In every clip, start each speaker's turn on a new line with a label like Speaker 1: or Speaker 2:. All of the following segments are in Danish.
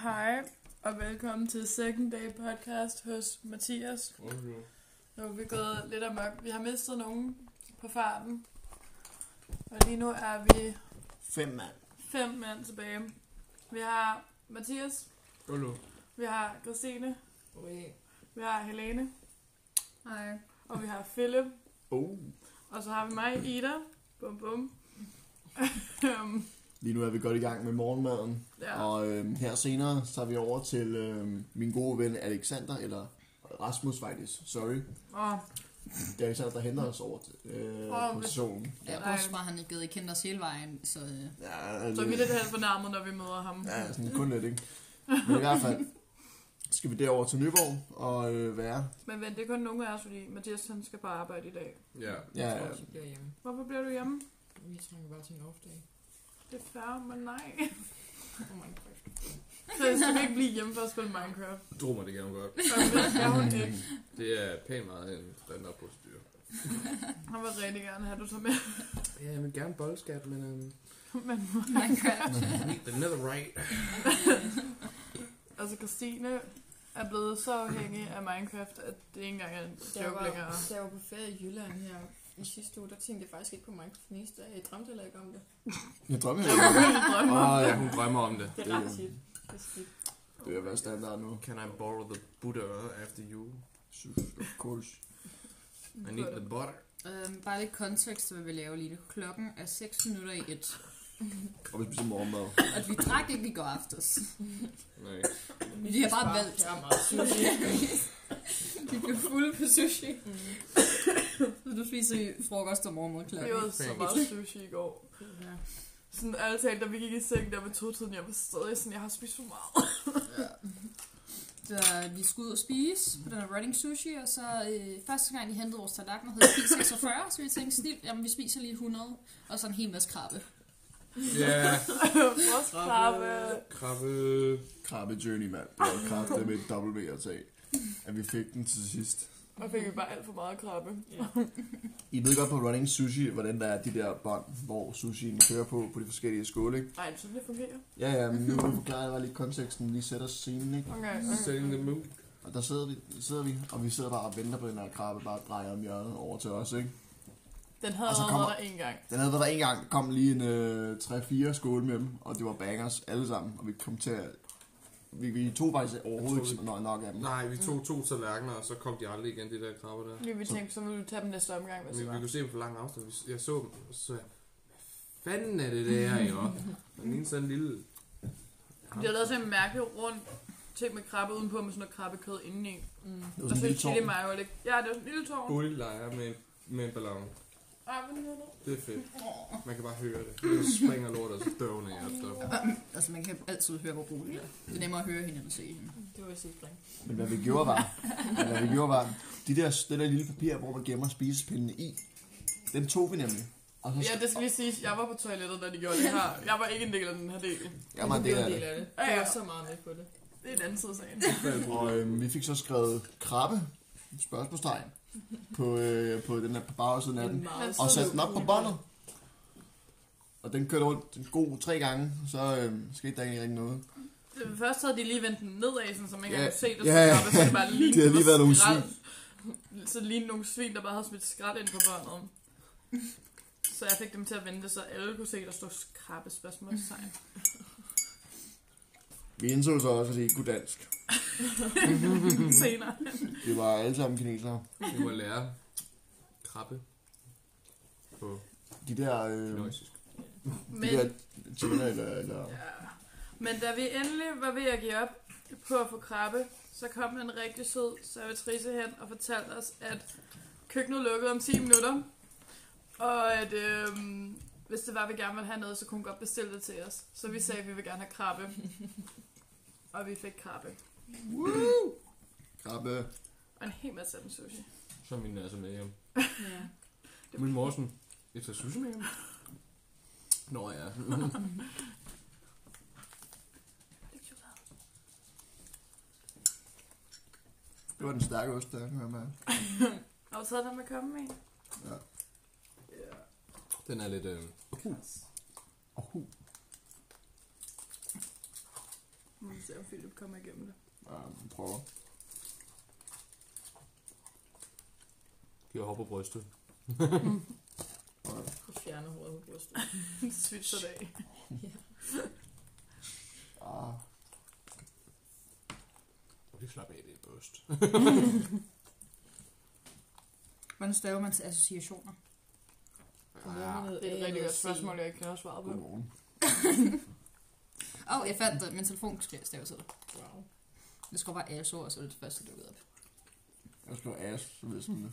Speaker 1: Hej, og velkommen til Second Day Podcast hos Mathias.
Speaker 2: Okay.
Speaker 1: Nu er vi gået lidt amok. Vi har mistet nogen på farmen, og lige nu er vi
Speaker 3: Fem mand.
Speaker 1: fem mænd tilbage. Vi har Mathias,
Speaker 2: Hallo.
Speaker 1: vi har Christine,
Speaker 3: Okay.
Speaker 1: vi har Helene, Hej. og vi har Philip,
Speaker 3: Oh.
Speaker 1: og så har vi mig, Ida. Bum bum. Øhm,
Speaker 3: Lige nu er vi godt i gang med morgenmaden, ja.
Speaker 1: ja.
Speaker 3: og øhm, her senere tager vi over til øhm, min gode ven Alexander, eller Rasmus faktisk, sorry.
Speaker 1: Og
Speaker 3: Det er Alexander, der henter os over til, øh,
Speaker 1: Åh,
Speaker 3: på
Speaker 1: men-
Speaker 3: stationen.
Speaker 4: Ja,
Speaker 1: Nej.
Speaker 4: bortset fra, at han ikke havde kendt os hele vejen, så øh,
Speaker 3: Ja,
Speaker 1: så er vi lidt halvt fornærmet, når vi møder ham.
Speaker 3: Ja, sådan kun lidt, ikke? Men i hvert fald skal vi derover til Nyborg og øh, være...
Speaker 1: Men vent, det er kun nogle af os, fordi Mathias han skal på arbejde i dag.
Speaker 2: Ja.
Speaker 3: Ja,
Speaker 4: tror
Speaker 3: ja.
Speaker 4: også,
Speaker 5: bliver hjemme.
Speaker 1: Hvorfor bliver du hjemme?
Speaker 5: Vi trænger bare til en off day.
Speaker 1: Det er færre, men nej.
Speaker 5: Oh my god.
Speaker 1: Så jeg skal ikke blive hjemme for at spille Minecraft.
Speaker 2: Drummer det gerne godt.
Speaker 1: Og det skal hun ikke.
Speaker 2: Det er pænt meget en standardprocedur.
Speaker 1: Han vil rigtig gerne have, at du tager med.
Speaker 2: Ja, jeg vil gerne boldskat, men... Um...
Speaker 1: Men,
Speaker 4: Minecraft.
Speaker 2: The nether right.
Speaker 1: altså Christine er blevet så afhængig af Minecraft, at det ikke engang er en
Speaker 5: Da jeg,
Speaker 1: joke
Speaker 5: var,
Speaker 1: længere.
Speaker 5: da jeg var på ferie i Jylland her i sidste uge, der tænkte jeg faktisk ikke på Minecraft den eneste dag. Jeg drømte heller ikke om det.
Speaker 3: Jeg drømmer
Speaker 1: Jeg kunne
Speaker 3: ikke.
Speaker 1: virkelig drømme om
Speaker 2: Åh,
Speaker 1: det.
Speaker 2: ja, hun drømmer om det.
Speaker 5: Det er
Speaker 3: Det-
Speaker 5: ret tit. Det er skidt.
Speaker 3: Det vil være standard nu.
Speaker 2: Can I borrow the butter after you?
Speaker 3: Of course.
Speaker 2: I need the butter.
Speaker 4: Øhm, bare lidt kontekst, hvad vi laver lige nu. Klokken er 6 minutter i 1,
Speaker 3: Og vi spiser morgenmad.
Speaker 4: og vi drak ikke i går aftes.
Speaker 2: Nej.
Speaker 4: Vi har bare valgt.
Speaker 5: Jeg er meget sushi.
Speaker 4: Vi blev fulde på sushi.
Speaker 5: Mm.
Speaker 4: Så nu spiser vi frokost og morgenmad
Speaker 1: Det
Speaker 4: klokken.
Speaker 1: var så meget sushi i går.
Speaker 4: Ja.
Speaker 1: Sådan alle talt, da vi gik i seng der ved to tiden, jeg var stadig sådan, jeg har spist for meget.
Speaker 4: Så øh, vi skulle ud og spise på den her running sushi, og så øh, første gang, de hentede vores tallerkener, hed det 46, så vi tænkte snilt, jamen vi spiser lige 100, og så en hel masse krabbe.
Speaker 2: Ja.
Speaker 1: Vores krabbe.
Speaker 2: Krabbe.
Speaker 3: Krabbe Journey, mand. Det var krabbe med et dobbelt V at tage. At vi fik den til sidst.
Speaker 1: Og fik vi bare alt for meget krabbe.
Speaker 5: Ja.
Speaker 3: I ved godt på running sushi, hvordan der er de der bånd, hvor sushien kører på, på de forskellige skåle, ikke?
Speaker 1: Ej, det er sådan det fungerer.
Speaker 3: Ja, ja, men nu forklarer jeg bare lige konteksten, lige sætter scenen, ikke?
Speaker 1: Okay, okay.
Speaker 2: Setting the mood.
Speaker 3: Og der sidder vi, sidder vi, og vi sidder bare og venter på den her krabbe, bare drejer om hjørnet over til os, ikke?
Speaker 1: Den havde
Speaker 3: Og så
Speaker 1: allerede
Speaker 3: kommer-
Speaker 1: været der en gang.
Speaker 3: Den havde været der en gang, der kom lige en øh, 3-4 skåle med dem, og det var bangers alle sammen, og vi kom til at... Vi, vi tog faktisk overhovedet
Speaker 2: Jeg
Speaker 3: ikke nok, nok af dem.
Speaker 2: Nej, vi tog to tallerkener, og så kom de aldrig igen, de der krabber der.
Speaker 1: Vi tænkte, så ville vi tage dem næste omgang, hvis
Speaker 2: Vi,
Speaker 1: det
Speaker 2: vi
Speaker 1: var.
Speaker 2: kunne se dem for lang afstand. Vi- Jeg så dem, og så sagde jeg, "Hvad fanden er det der, jo? Den ene sådan en lille...
Speaker 1: Det har lavet sådan en mærkelig rund ting med krabbe udenpå med sådan noget krabbekød indeni.
Speaker 5: Mm.
Speaker 3: Det var
Speaker 1: Og så
Speaker 3: sådan en lille
Speaker 1: chili
Speaker 3: tårn.
Speaker 1: mayo lidt. Ja, det var sådan en lille tårn.
Speaker 2: Bullelejer med, en- med en ballon.
Speaker 1: Ej, hvad hedder det?
Speaker 2: Det er fedt. Man kan bare høre det. Så springer lortet, og så døvner jeg efter.
Speaker 4: Altså man kan altid høre, hvor roligt det er. Det er nemmere at høre hende end at se hende.
Speaker 5: Det var sidste gang.
Speaker 3: Men hvad vi gjorde var, men hvad vi gjorde var, de der, det der lille papir, hvor man gemmer spisepindene i, den tog vi nemlig. Og så
Speaker 1: Ja, det skal lige siges, jeg var på toilettet, da de gjorde det her. Jeg var ikke en del af den her del.
Speaker 3: jeg var en del af
Speaker 5: del
Speaker 3: det.
Speaker 5: af det.
Speaker 1: Ja,
Speaker 5: Jeg
Speaker 1: ja.
Speaker 5: var så meget med på det.
Speaker 1: Det er en anden side af sagen.
Speaker 3: Og øh, vi fik så skrevet krabbe, spørgsmålstegn, på, øh, på den her på bagsiden af den.
Speaker 5: Meget
Speaker 3: Og satte den op på båndet. Og den kørte rundt en god tre gange, så øh, skete der egentlig ikke noget.
Speaker 1: Først havde de lige vendt den nedad, sådan, så man ikke
Speaker 3: Ja.
Speaker 1: kunne se det,
Speaker 3: Ja,
Speaker 1: så
Speaker 3: ja.
Speaker 1: krabbe, så det bare lignede
Speaker 3: Det havde lige været nogle
Speaker 1: skrald. Så det lignede nogle svin, der bare havde smidt skrald ind på båndet. Så jeg fik dem til at vente, så alle kunne se, der stod krabbe spørgsmålstegn.
Speaker 3: Vi indså så også, at de ikke kunne dansk.
Speaker 1: Senere.
Speaker 3: Det var alle sammen kinesere.
Speaker 2: Vi må lære krabbe på
Speaker 3: De der, øh,
Speaker 2: kinesisk.
Speaker 3: de der tjener eller, eller
Speaker 1: Ja. Men da vi endelig var ved at give op på at få krabbe, så kom en rigtig sød servitrice hen og fortalte os, at køkkenet lukkede om 10 minutter. Og at øhm, hvis det var, vi gerne ville have noget, så kunne hun godt bestille det til os. Så vi sagde, at vi vil gerne have krabbe. og vi fik krabbe.
Speaker 3: krabbe.
Speaker 1: Og en hel masse af dem sushi.
Speaker 2: Så er min altså med hjem.
Speaker 4: Ja.
Speaker 2: Min mor er sådan, jeg tager sushi med hjem. Nå ja.
Speaker 3: Det var den stærke ost, der hører man.
Speaker 1: Og så er der med at komme med.
Speaker 3: Ja.
Speaker 1: Ja.
Speaker 2: Den er lidt... Øh,
Speaker 3: Uh. Uh.
Speaker 1: Mm. se, om Philip kommer igennem det.
Speaker 6: Ja, hun prøver.
Speaker 2: Giver hår på brystet.
Speaker 7: Og fjerner hovedet på brystet.
Speaker 1: Svitser det af.
Speaker 6: Ah,
Speaker 2: Og det slap af, det er bryst.
Speaker 4: Hvordan staver man til associationer?
Speaker 7: Ah,
Speaker 1: Det er et rigtig godt spørgsmål, jeg ikke kan have svaret på.
Speaker 6: godmorgen.
Speaker 4: Åh, oh, jeg fandt det. Min telefon staver til det.
Speaker 7: Wow.
Speaker 4: Jeg skulle bare ASO, og så var det det første, der dukkede op.
Speaker 6: Jeg skriver ass, så ved sådan det.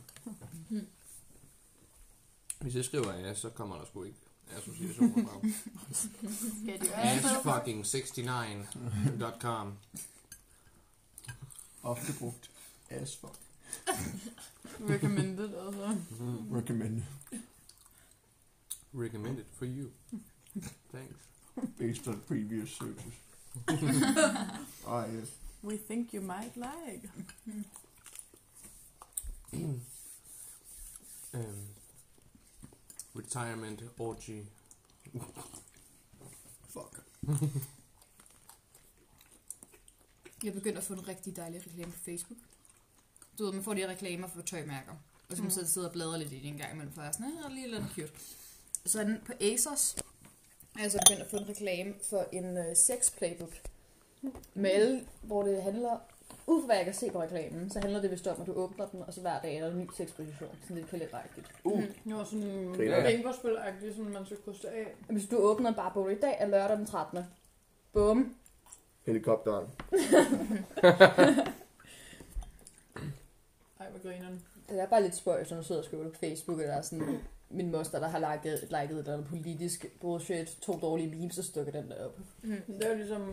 Speaker 2: Hvis jeg skriver ja, så kommer der sgu ikke associationer frem.
Speaker 7: Skal det være så?
Speaker 2: Assfucking69.com
Speaker 6: Ofte brugt. Ass fuck.
Speaker 7: Recommended altså.
Speaker 6: Recommend.
Speaker 2: Recommended for you. Thanks.
Speaker 6: Based on previous searches. Ej, yes.
Speaker 1: We think you might like.
Speaker 2: Um, retirement orgy.
Speaker 6: Fuck.
Speaker 4: Jeg begyndte at få en rigtig dejlig reklame på Facebook. Du ved, man får de her reklamer for tøjmærker. Og
Speaker 7: Mm.
Speaker 4: så man så sidder og bladrer lidt i det en gang imellem, for jeg er sådan, "Ah, lige lidt cute. Så er den på Asos. Jeg er så begyndt at få en reklame for en øh, sex playbook.
Speaker 7: Mm.
Speaker 4: Med alle, hvor det handler, ud fra hvad jeg kan se på reklamen, så handler det vist om, at du åbner den, og så hver dag er der en ny sexposition. Sådan lidt kalenderagtigt.
Speaker 6: Uh,
Speaker 1: Det var sådan
Speaker 6: Griner jeg.
Speaker 1: bingo-spil-agtigt, sådan man skulle krydse af.
Speaker 4: Hvis du åbner en barbole i dag, er lørdag den 13. Bum.
Speaker 6: helikopteren.
Speaker 1: Ej, hvor grineren.
Speaker 4: Det er bare lidt spøjs, når du sidder og skriver på Facebook, og der er sådan min moster, der har liket, liket et eller andet politisk bullshit, to dårlige memes, og så dukker den der op.
Speaker 7: Mm.
Speaker 1: Det er jo ligesom,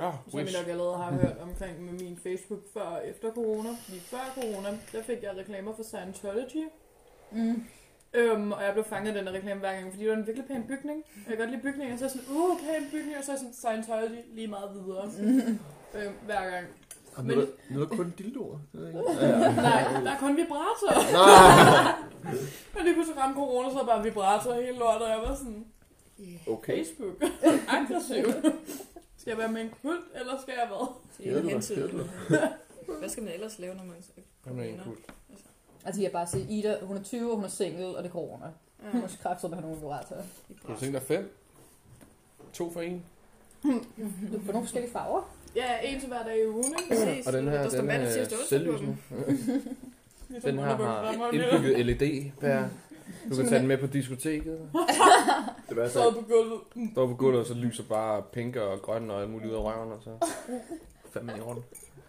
Speaker 2: Ah,
Speaker 1: som jeg nok allerede har hørt omkring med min Facebook før og efter corona. Fordi før corona, der fik jeg reklamer for Scientology.
Speaker 4: Mm.
Speaker 1: Øhm, og jeg blev fanget af den her reklame hver gang, fordi det var en virkelig pæn bygning. Og jeg kan godt lide bygninger, så er jeg sådan, uh, pæn bygning, og så er jeg sådan, Scientology lige meget videre. øhm, hver gang.
Speaker 3: Og Ah, nu,
Speaker 1: Men-
Speaker 3: er der, nu er der kun dildoer. Det ved jeg ikke.
Speaker 1: Nej, der er kun vibratorer. og lige pludselig ramte corona, så var der bare vibratorer hele lortet, og jeg var sådan,
Speaker 3: Okay.
Speaker 1: Facebook. Aggressiv. skal jeg være med en kult, eller skal jeg hvad?
Speaker 7: Det
Speaker 3: Keder
Speaker 7: er
Speaker 3: du
Speaker 7: en
Speaker 3: dig?
Speaker 7: hensyn.
Speaker 3: Keder du dig?
Speaker 7: Hvad skal man ellers lave, når man så
Speaker 2: Jamen, en kul.
Speaker 4: Altså, jeg kan bare se, Ida, hun er 20, og hun er single, og det er corona.
Speaker 7: Ja,
Speaker 4: Hun skal kræftet med at have nogle vibratorer.
Speaker 7: i
Speaker 2: Har du
Speaker 7: bræt.
Speaker 2: tænkt dig fem? To for en?
Speaker 4: Du får nogle forskellige farver.
Speaker 1: Ja, en til hver dag i ugen, ikke?
Speaker 7: Præcis.
Speaker 3: Og den her,
Speaker 7: der står
Speaker 3: den
Speaker 7: mand,
Speaker 3: er
Speaker 7: der siger, at stå på
Speaker 3: selvlysende.
Speaker 7: dem.
Speaker 1: Ligesom
Speaker 3: Den her har
Speaker 1: underbukser, hvor man lige-
Speaker 2: indbygget LED-pære. Du kan tage den med på diskoteket.
Speaker 3: Det altså- værste
Speaker 1: Sad
Speaker 3: er,
Speaker 1: på gulvet. Mm.
Speaker 2: Står på gulvet, og så lyser bare pink og grøn og alt muligt ud af røven, og så... Fanden i orden.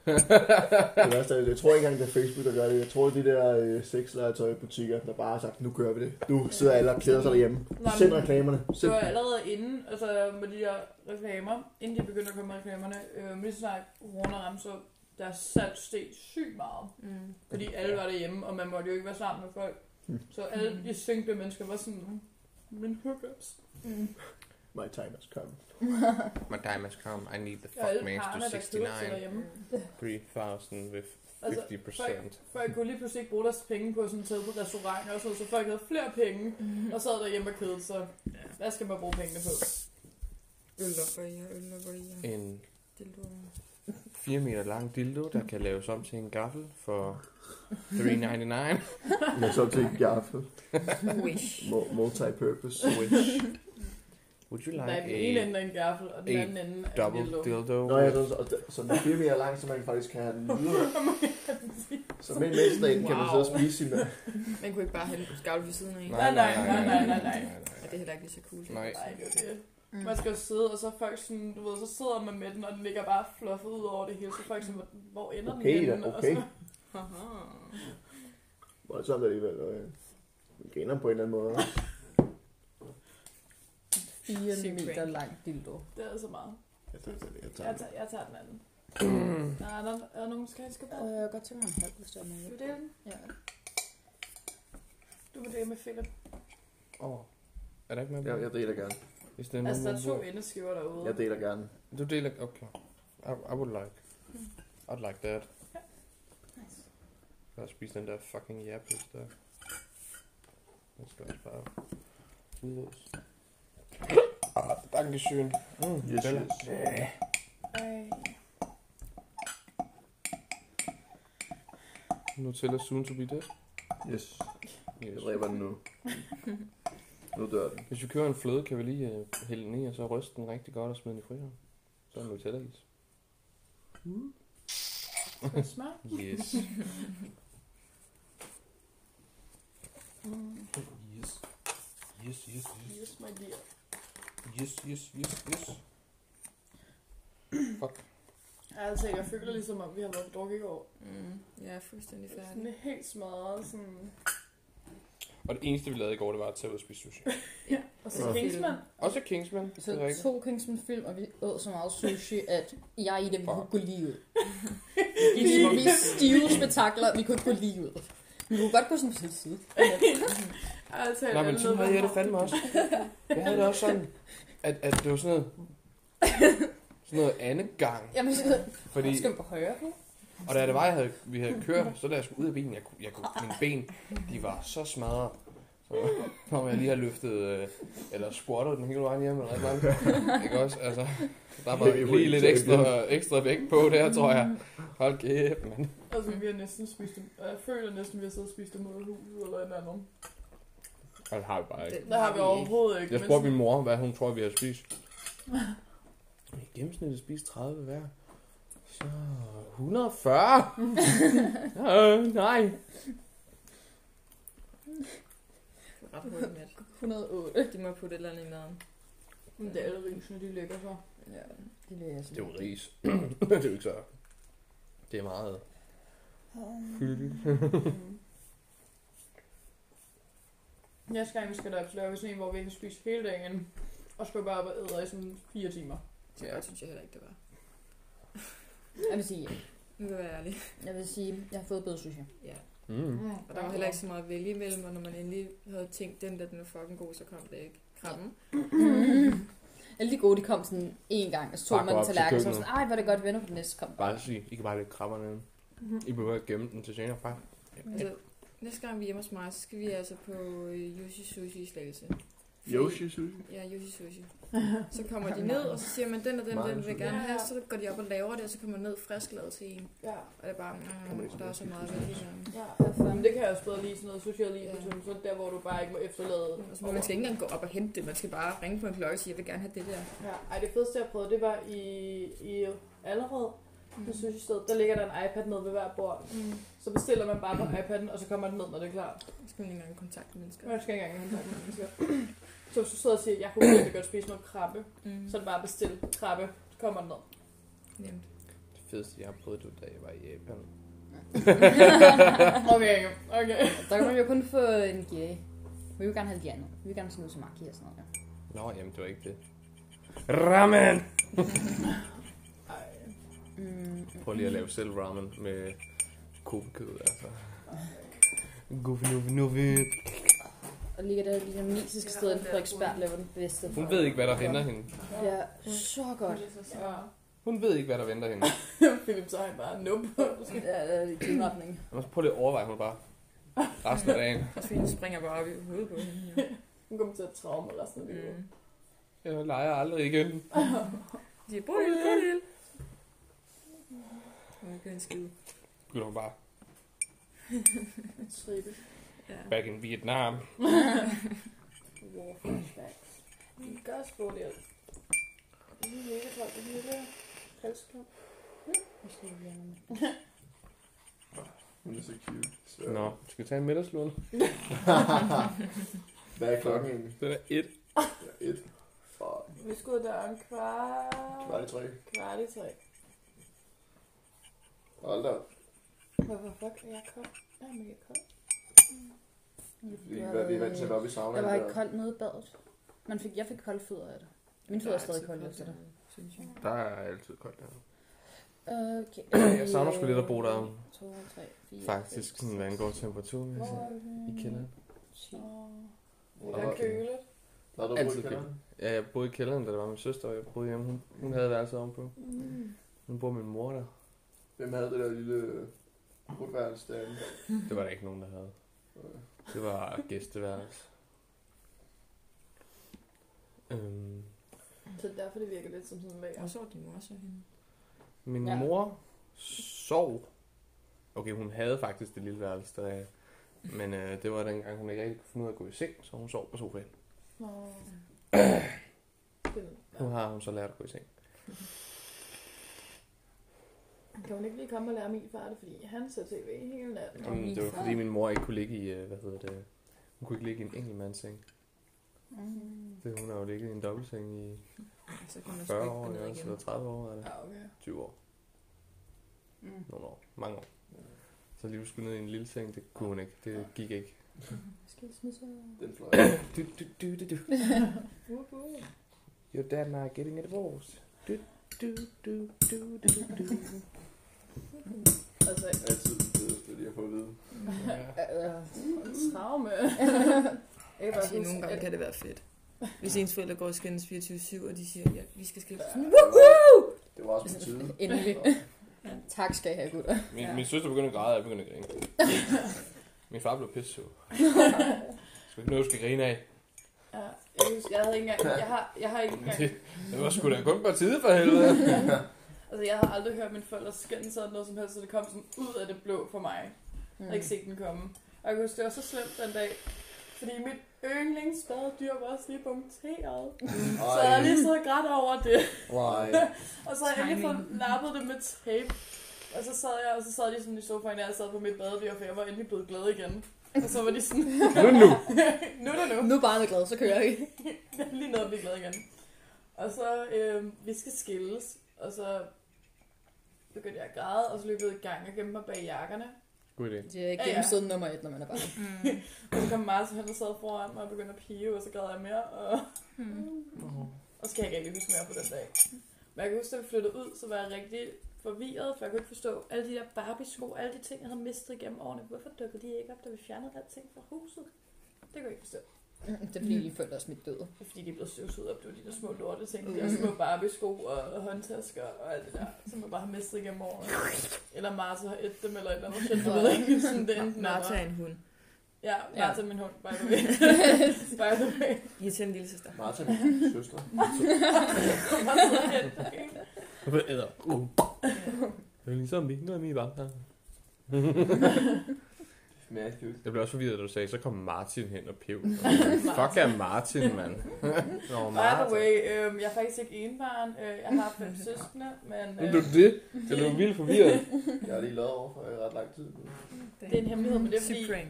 Speaker 3: det værste er, jeg tror ikke engang, det er Facebook, der gør det. Jeg tror, de der øh, sexlegetøjbutikker, der bare har sagt, nu kører vi det. Nu sidder alle og keder sig derhjemme.
Speaker 1: Nej,
Speaker 3: Send
Speaker 1: men-
Speaker 3: reklamerne.
Speaker 1: Det
Speaker 3: Send.
Speaker 1: var allerede inden, altså med de her reklamer, inden de begyndte at komme med reklamerne, øh, lige så snart corona ramte, så der salg steg sygt meget.
Speaker 7: Mm.
Speaker 1: Fordi alle var derhjemme, og man måtte jo ikke være sammen med folk.
Speaker 3: Hm.
Speaker 1: Så alle de single mennesker var sådan, "Hm, men hookups.
Speaker 4: Mm.
Speaker 3: My time has come.
Speaker 2: My time has come. I need the
Speaker 1: Og alle
Speaker 2: fuck man
Speaker 1: parerne,
Speaker 2: to
Speaker 1: der købte sig
Speaker 2: 69.
Speaker 1: derhjemme.
Speaker 2: 3000 with 50%.
Speaker 1: Altså, Folk kunne lige pludselig ikke bruge deres penge på sådan taget på restauranter og sådan, så folk havde flere penge, og sad derhjemme og kedede sig. Hvad skal man bruge pengene på?
Speaker 7: Øl og bøger, øl og bøger.
Speaker 2: en
Speaker 7: Det lurer.
Speaker 2: 4 meter lang dildo, der kan laves om til en gaffel for 399.
Speaker 3: Men så til gaffel.
Speaker 7: Wish.
Speaker 3: Mo- Multi-purpose.
Speaker 2: Which, would you
Speaker 1: Der er
Speaker 2: like
Speaker 1: den ene
Speaker 2: a
Speaker 1: ende af en gaffel, og den
Speaker 2: a
Speaker 1: anden ende af en
Speaker 2: double
Speaker 1: dildo.
Speaker 2: dildo?
Speaker 3: Nå, ja, så, så, så den er 4 meter lang, så man faktisk kan have den videre. Så med en mændstaten kan man sidde og spise sin mad.
Speaker 7: Man kunne ikke bare hælde skavl ved siden af en.
Speaker 1: Nej, nej, nej, nej, nej, nej.
Speaker 7: Og det er heller ikke lige så cool. Mm.
Speaker 2: Nej.
Speaker 1: Nej, det er det. Man skal jo sidde, og så er folk sådan, du ved, så sidder man med den, og den ligger bare fluffet ud over det hele, så er folk sådan, hvor ender
Speaker 3: Okay,
Speaker 1: den
Speaker 3: da,
Speaker 1: henne?
Speaker 3: okay.
Speaker 1: Og så,
Speaker 7: Haha.
Speaker 3: Voldsomt alligevel. og, øh, Vi griner på en eller anden måde.
Speaker 4: 4
Speaker 7: Sygt
Speaker 4: meter
Speaker 7: prank.
Speaker 4: lang dildo.
Speaker 1: det er så meget.
Speaker 3: Jeg tager, jeg tager, jeg tager.
Speaker 1: Jeg tager, jeg tager den anden. Nej, er der, er der nogen, der skal have
Speaker 3: Øh.
Speaker 4: Jeg
Speaker 1: skabet?
Speaker 4: kunne godt tænke mig en halv, hvis det var
Speaker 1: Du
Speaker 4: med.
Speaker 1: vil dele den?
Speaker 4: Ja.
Speaker 1: Du vil dele med Philip.
Speaker 2: Åh. Er der ikke med?
Speaker 3: Jeg, jeg deler gerne.
Speaker 2: Hvis det er
Speaker 1: Altså, der er to
Speaker 2: nogen,
Speaker 1: endeskiver derude.
Speaker 3: Jeg deler gerne.
Speaker 2: hvor- Du deler... Okay. I, I would like. I'd like that. Lad os spise den der fucking jærbøs der. Den skal også bare udløs. Ah, dankeschön. Mm,
Speaker 3: Yes,
Speaker 2: Bella.
Speaker 3: yes.
Speaker 1: Ej.
Speaker 2: Nu tæller soon to be dead.
Speaker 3: Yes. Jeg
Speaker 2: Yes.
Speaker 3: dræber den nu. Nu dør den.
Speaker 2: Hvis vi kører en fløde, kan vi lige øh, hælde den i, og så ryste den rigtig godt og smide den i frihavn. Så er den Nutella-is.
Speaker 1: Smart.
Speaker 2: Yes. Mm. yes. Yes, yes, yes.
Speaker 1: Yes, my dear.
Speaker 2: Yes, yes, yes, yes. Fuck.
Speaker 1: Altså, jeg føler ligesom, at vi har været drukket i går.
Speaker 4: Mm, jeg er fuldstændig
Speaker 1: Sådan
Speaker 4: færdig.
Speaker 1: helt smadret, sådan...
Speaker 2: Og det eneste, vi lavede i går, det var at tage ud og spise sushi.
Speaker 1: Ja, og så
Speaker 3: Og
Speaker 1: Kingsman.
Speaker 2: Også Kingsman. Det er
Speaker 8: Så
Speaker 2: rigtigt.
Speaker 8: to Kingsman-film, og vi åd så meget sushi, at jeg i det, vi
Speaker 2: Fuck.
Speaker 8: kunne gå lige ud. Vi,
Speaker 1: ligesom
Speaker 8: vi stive spektakler, vi kunne ikke gå lige ud. Vi kunne godt gå sådan på sin side.
Speaker 1: Altså,
Speaker 2: Nej, men sådan havde jeg det fandme også. Jeg havde det også sådan, at, at det var sådan noget, sådan noget andet gang.
Speaker 8: Jamen, så
Speaker 2: Fordi,
Speaker 8: skal vi på højre nu?
Speaker 2: og da det var, jeg havde, vi havde kørt, så da jeg skulle ud af bilen, jeg, kunne- jeg kunne, mine ben, de var så smadret. Så når jeg lige har løftet, øh, eller squattet den hele vejen hjem, eller et eller andet. Ikke også? Altså, der var
Speaker 3: Heavy
Speaker 2: lige lidt
Speaker 3: weight,
Speaker 2: ekstra, ekstra vægt på der, tror jeg. Hold kæft, mand.
Speaker 1: Altså, vi har næsten spist dem. og Jeg føler næsten, vi har siddet og spist dem ud af huset eller et eller andet.
Speaker 2: Og det Altså, har vi bare ikke.
Speaker 1: Det har vi overhovedet ikke.
Speaker 2: Jeg
Speaker 1: men
Speaker 2: spurgte min mor, hvad hun tror, vi har spist. I gennemsnit har spist 30 hver. Så 140. øh, nej.
Speaker 4: Ret hurtigt med.
Speaker 8: 108.
Speaker 4: De må putte et eller andet i maden.
Speaker 1: Men det er alle risene, de lægger så.
Speaker 4: Ja.
Speaker 8: Det vil jeg sige.
Speaker 2: Det er jo ris. det er jo ikke så. Det er meget.
Speaker 1: Næste gang vi skal derop, så laver vi sådan en, hvor vi kan spise hele dagen. Og skal bare op og æde i sådan fire timer.
Speaker 4: Så
Speaker 2: Ja.
Speaker 4: godt synes jeg heller ikke, det var.
Speaker 8: Jeg vil sige,
Speaker 4: Nu vil jeg være ærlig.
Speaker 8: jeg vil sige, jeg har fået bedre sushi.
Speaker 4: Ja.
Speaker 2: Mm.
Speaker 4: Og der var heller ikke så meget at vælge imellem, og når man endelig havde tænkt, den der, den er fucking god, så kom det ikke. Krabben.
Speaker 8: Alle de gode, de kom sådan en gang, og så
Speaker 2: Bare
Speaker 8: tog
Speaker 2: gå
Speaker 8: man en
Speaker 2: op til
Speaker 8: tallerken, og så var
Speaker 2: køkkenet.
Speaker 8: sådan, ej, hvor er det godt, vi vender på den næste kom.
Speaker 2: Bare sige, I kan bare lægge krabberne ind.
Speaker 1: Mhm.
Speaker 2: I behøver ikke gemme den til senere, far.
Speaker 4: Altså, næste gang vi er hjemme hos mig, så skal vi altså på øh, Yoshi Sushi i Slagelse.
Speaker 3: Yoshi sushi.
Speaker 4: Ja, Yoshi Sushi. Så kommer de ned, og så siger man, den og den, den vil jeg gerne have. Så går de op og laver det, og så kommer man ned frisklavet til en.
Speaker 1: Ja,
Speaker 4: Og det er bare, mm, der er så meget ved det
Speaker 1: ja. Altså, men det kan jeg også bedre lige sådan noget socialt lige
Speaker 4: Ja.
Speaker 1: ja. så der, hvor du bare ikke må efterlade.
Speaker 4: Altså, man skal ikke engang gå op og hente det, man skal bare ringe på en klokke og sige, jeg vil gerne have det der.
Speaker 1: Ja, ej, det fedeste, jeg prøvede, det var i, i Allerød, på sushi-stedet. Der ligger der en iPad nede ved hver bord.
Speaker 4: Mm.
Speaker 1: Så bestiller man bare på iPad'en, og så kommer den ned, når det er klar.
Speaker 4: Så skal man ikke engang kontakte mennesker.
Speaker 1: Man skal ikke engang have kontakt med mennesker. Så hvis du sidder og siger, jeg kunne virkelig godt spise noget krabbe,
Speaker 4: Mm.
Speaker 1: så er det bare bestil krabbe, så kommer den ned.
Speaker 4: Nemt.
Speaker 2: Det fedeste, jeg har prøvet, det var, da jeg var i Japan.
Speaker 1: Okay, okay.
Speaker 8: Der kan man jo kun få en gay. Vi vil gerne have de andre. Vi vil gerne sådan noget som Maki og sådan noget. Ja.
Speaker 2: Nå, jamen, det var ikke det. Ramen!
Speaker 1: Ej,
Speaker 8: Mm,
Speaker 2: Prøv lige at lave selv ramen med kobekød, altså. Guffi, nuffi, nuffi.
Speaker 8: og ligger der det vietnamesiske sted inden for ekspert, laver den bedste.
Speaker 2: Hun ved ikke, hvad der henter hende.
Speaker 8: Det er så godt.
Speaker 1: ja.
Speaker 2: Hun ved ikke, hvad der venter hende.
Speaker 1: Philip så er han bare nup.
Speaker 8: Ja, det er i din retning.
Speaker 2: Og så prøv lige at overveje, hun bare resten af dagen.
Speaker 4: Og så springer bare op i hovedet på hende. jo.
Speaker 1: Hun kommer til at traume resten af livet.
Speaker 4: Mm.
Speaker 2: Jeg leger aldrig igen.
Speaker 4: De er Bodil, Bodil. Hun ikke en skid.
Speaker 2: Begynder hun bare
Speaker 1: Trippe.
Speaker 4: Ja.
Speaker 2: back in Vietnam.
Speaker 1: War flashbacks. En gørskål der. Det er mega koldt, det hele der. Halsklub.
Speaker 3: Hun er så cute. Så.
Speaker 2: Nå, skal vi tage en middagslund?
Speaker 3: Hvad er klokken egentlig?
Speaker 2: Den er et.
Speaker 3: Ja, et. Fuck.
Speaker 1: Vi skal ud der en kvart...
Speaker 3: Kvart i tre.
Speaker 1: Kvart i tre.
Speaker 3: Hold da op.
Speaker 1: Hvorfor fuck er jeg kold? Jeg er mega kold.
Speaker 3: Det er fordi, hvad vi er vant til at være oppe i saunaen.
Speaker 8: Jeg var ikke
Speaker 3: der.
Speaker 8: koldt nede i badet. Man fik, jeg fik kolde fødder af det. Mine fødder er stadig kolde efter det.
Speaker 4: Synes jeg.
Speaker 2: Der er altid koldt der.
Speaker 8: Okay.
Speaker 2: Jeg savner sgu lidt at bo der.
Speaker 8: 2, 3, 4,
Speaker 2: Faktisk, sådan, hvad angår temperatur, vil jeg sige. I kælderen.
Speaker 1: Åh,
Speaker 3: Der
Speaker 1: det
Speaker 3: var-
Speaker 1: er kølet.
Speaker 3: Nå, du
Speaker 2: Altid
Speaker 3: altid kælderen.
Speaker 2: Ja, jeg boede i kælderen, da det var min søster, og jeg boede hjemme. Hun, hun havde værelset ovenpå.
Speaker 1: Mm.
Speaker 2: Nu bor min mor der.
Speaker 3: Hvem havde det der lille brutværelse derinde? Øh.
Speaker 2: Det var der ikke nogen, der havde. Det var gæsteværelse. Øhm,
Speaker 1: Så det er derfor, det virker lidt som sådan en lager.
Speaker 4: Hvor så din mor så hende?
Speaker 2: min ja.
Speaker 8: Ja.
Speaker 2: mor sov Okay, hun havde faktisk det lille værelse, der, øh, men øh, det var dengang, hun ikke rigtig kunne finde ud af at gå i seng, så hun sov på sofaen.
Speaker 1: Nå.
Speaker 2: Nu har hun så lært at gå i seng.
Speaker 1: Kan hun ikke lige komme og lære min far det, fordi han ser tv hele natten.
Speaker 9: Nå, min
Speaker 2: Jamen, det var
Speaker 9: far.
Speaker 2: fordi min mor ikke kunne ligge i, øh, hvad hedder det, hun kunne ikke ligge i en enkelt mands seng.
Speaker 9: Mm.
Speaker 2: Det, hun har jo ligget i en dobbeltseng i
Speaker 4: Altså,
Speaker 9: Så kan man sgu
Speaker 2: 40
Speaker 9: ikke
Speaker 2: år,
Speaker 9: gå
Speaker 2: eller,
Speaker 9: ned
Speaker 2: også, eller
Speaker 9: igen.
Speaker 2: 30 år, eller
Speaker 9: Ja, okay.
Speaker 2: 20 år,
Speaker 9: Mm.
Speaker 2: nogle år, mange år. Så lige skulle ned i en lille seng, det kunne hun ikke, det gik ikke.
Speaker 1: Skilsmisse.
Speaker 3: Den fløj.
Speaker 2: Du, du, du, du, du. Your dad and I are getting a divorce. Du, du, du, du, du, du.
Speaker 1: Altså, altså,
Speaker 3: Altid det fedeste lige at få at vide.
Speaker 1: traume.
Speaker 4: Jeg kan bare sige, Altså, nogle gange kan det være fedt. Hvis ens forældre går og skændes 24-7, og de siger, ja, vi skal skille. Woohoo!
Speaker 3: Det var også på tide.
Speaker 4: Endelig. tak skal I have, gutter.
Speaker 2: Min, min søster begyndte at græde, og jeg begyndte at grine. min far blev pisse sur. Skal ikke noget, du skal grine af.
Speaker 1: Ja, jeg, husker, jeg havde ikke engang, jeg har, jeg har ikke engang,
Speaker 2: Det, det var sgu da kun på tide for helvede.
Speaker 1: altså jeg har aldrig hørt mine forældre skændes eller noget som helst, så det kom sådan ud af det blå for mig. Jeg havde ikke set den komme. Og jeg kunne huske, det var så slemt den dag, fordi mit yndlingsbadedyr var også lige punkteret. Så jeg havde lige siddet og grædt over det.
Speaker 3: Nej.
Speaker 1: Og så havde jeg lige fået lappet det med tape. Og så sad jeg, og så sad de sådan i sofaen, og jeg sad på mit badedyr, for jeg var endelig blevet glad igen. Og så var de sådan,
Speaker 2: Nu nu.
Speaker 1: nu er det nu.
Speaker 4: Nu er barnet glad, så kører vi.
Speaker 1: Jeg er lige noget at blive glad igen. Og så, øh, vi skal skilles, og så begyndte jeg at græde, og så løb jeg ud i gang og gemte mig bag jakkerne.
Speaker 2: God idé.
Speaker 4: Det er
Speaker 1: Ja, ja.
Speaker 4: gennemsiden nummer et, når man er barn.
Speaker 1: Og så kom Mars hen og sad foran mig og begyndte at pive, og så græd jeg mere, og,
Speaker 4: Mm.
Speaker 1: og så kan jeg ikke rigtig huske mere på den dag. Men jeg kan huske, da vi flyttede ud, så var jeg rigtig forvirret, for jeg kunne ikke forstå alle de der Barbie-sko, alle de ting, jeg havde mistet gennem årene. Hvorfor dukkede de ikke op, da vi fjernede alting fra huset? Det kunne jeg ikke forstå.
Speaker 4: Det er fordi, de følte også mit døde.
Speaker 1: Det er fordi, de er blevet støvsuget op. Det var de der små lorte ting. De der små Barbie-sko og håndtasker og alt det der, som jeg bare har mistet igennem årene. Eller Martha har et dem eller et eller andet shit. Jeg ved ikke, sådan det enten
Speaker 4: Martha
Speaker 1: eller.
Speaker 4: er en hund.
Speaker 1: Ja, Martha er min hund, by the way. by the way.
Speaker 4: Irriterende lille søster.
Speaker 3: Martha, min søster.
Speaker 2: Hvad æder? Uh. Det er ligesom vi. Nu er min bare her.
Speaker 3: Mærke ud.
Speaker 2: Jeg blev også forvirret, da du sagde, så kom Martin hen og pev. Fuck er Martin, mand.
Speaker 1: By
Speaker 2: Nå,
Speaker 1: the
Speaker 2: Martin.
Speaker 1: way, øhm, jeg er faktisk ikke enebarn. Øh, jeg har fem søskende, men
Speaker 2: Nu
Speaker 1: øh,
Speaker 2: blev du det. Jeg blev vildt forvirret.
Speaker 3: Jeg har lige lavet over for øh, ret lang tid. nu.
Speaker 1: det er en hemmelighed, men det er fordi...
Speaker 4: Syg-prank.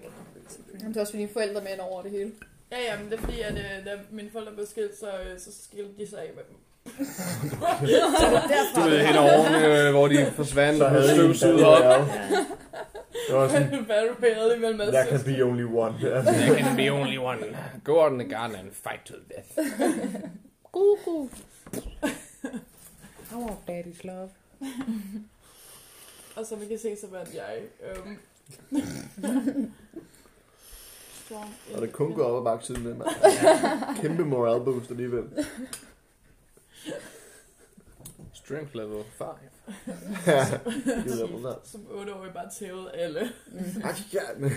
Speaker 4: Jamen, det er også fordi, forældre med ind over det hele.
Speaker 1: Ja, ja, men det er fordi, at øh, da mine forældre blev skilt, så, øh, så skilte de sig af med dem.
Speaker 2: Du ved, hen over, øh, hvor de forsvandt og havde støvsuget op.
Speaker 3: Det var sådan,
Speaker 1: Battle Royale imellem alle
Speaker 3: there can
Speaker 1: søskende.
Speaker 3: be only one.
Speaker 2: There can be only one. Go out in the garden and fight to the death. I want daddy's love.
Speaker 1: Og som I kan se, så vandt jeg. Øhm. Strong
Speaker 3: Og det kun går op ad bakke siden den, mand. Kæmpe moral boost alligevel.
Speaker 2: Strength level 5.
Speaker 3: Ja, det er
Speaker 1: independent.
Speaker 3: der.
Speaker 1: Som 8 år bare tævede alle.
Speaker 3: Ej, ja, men.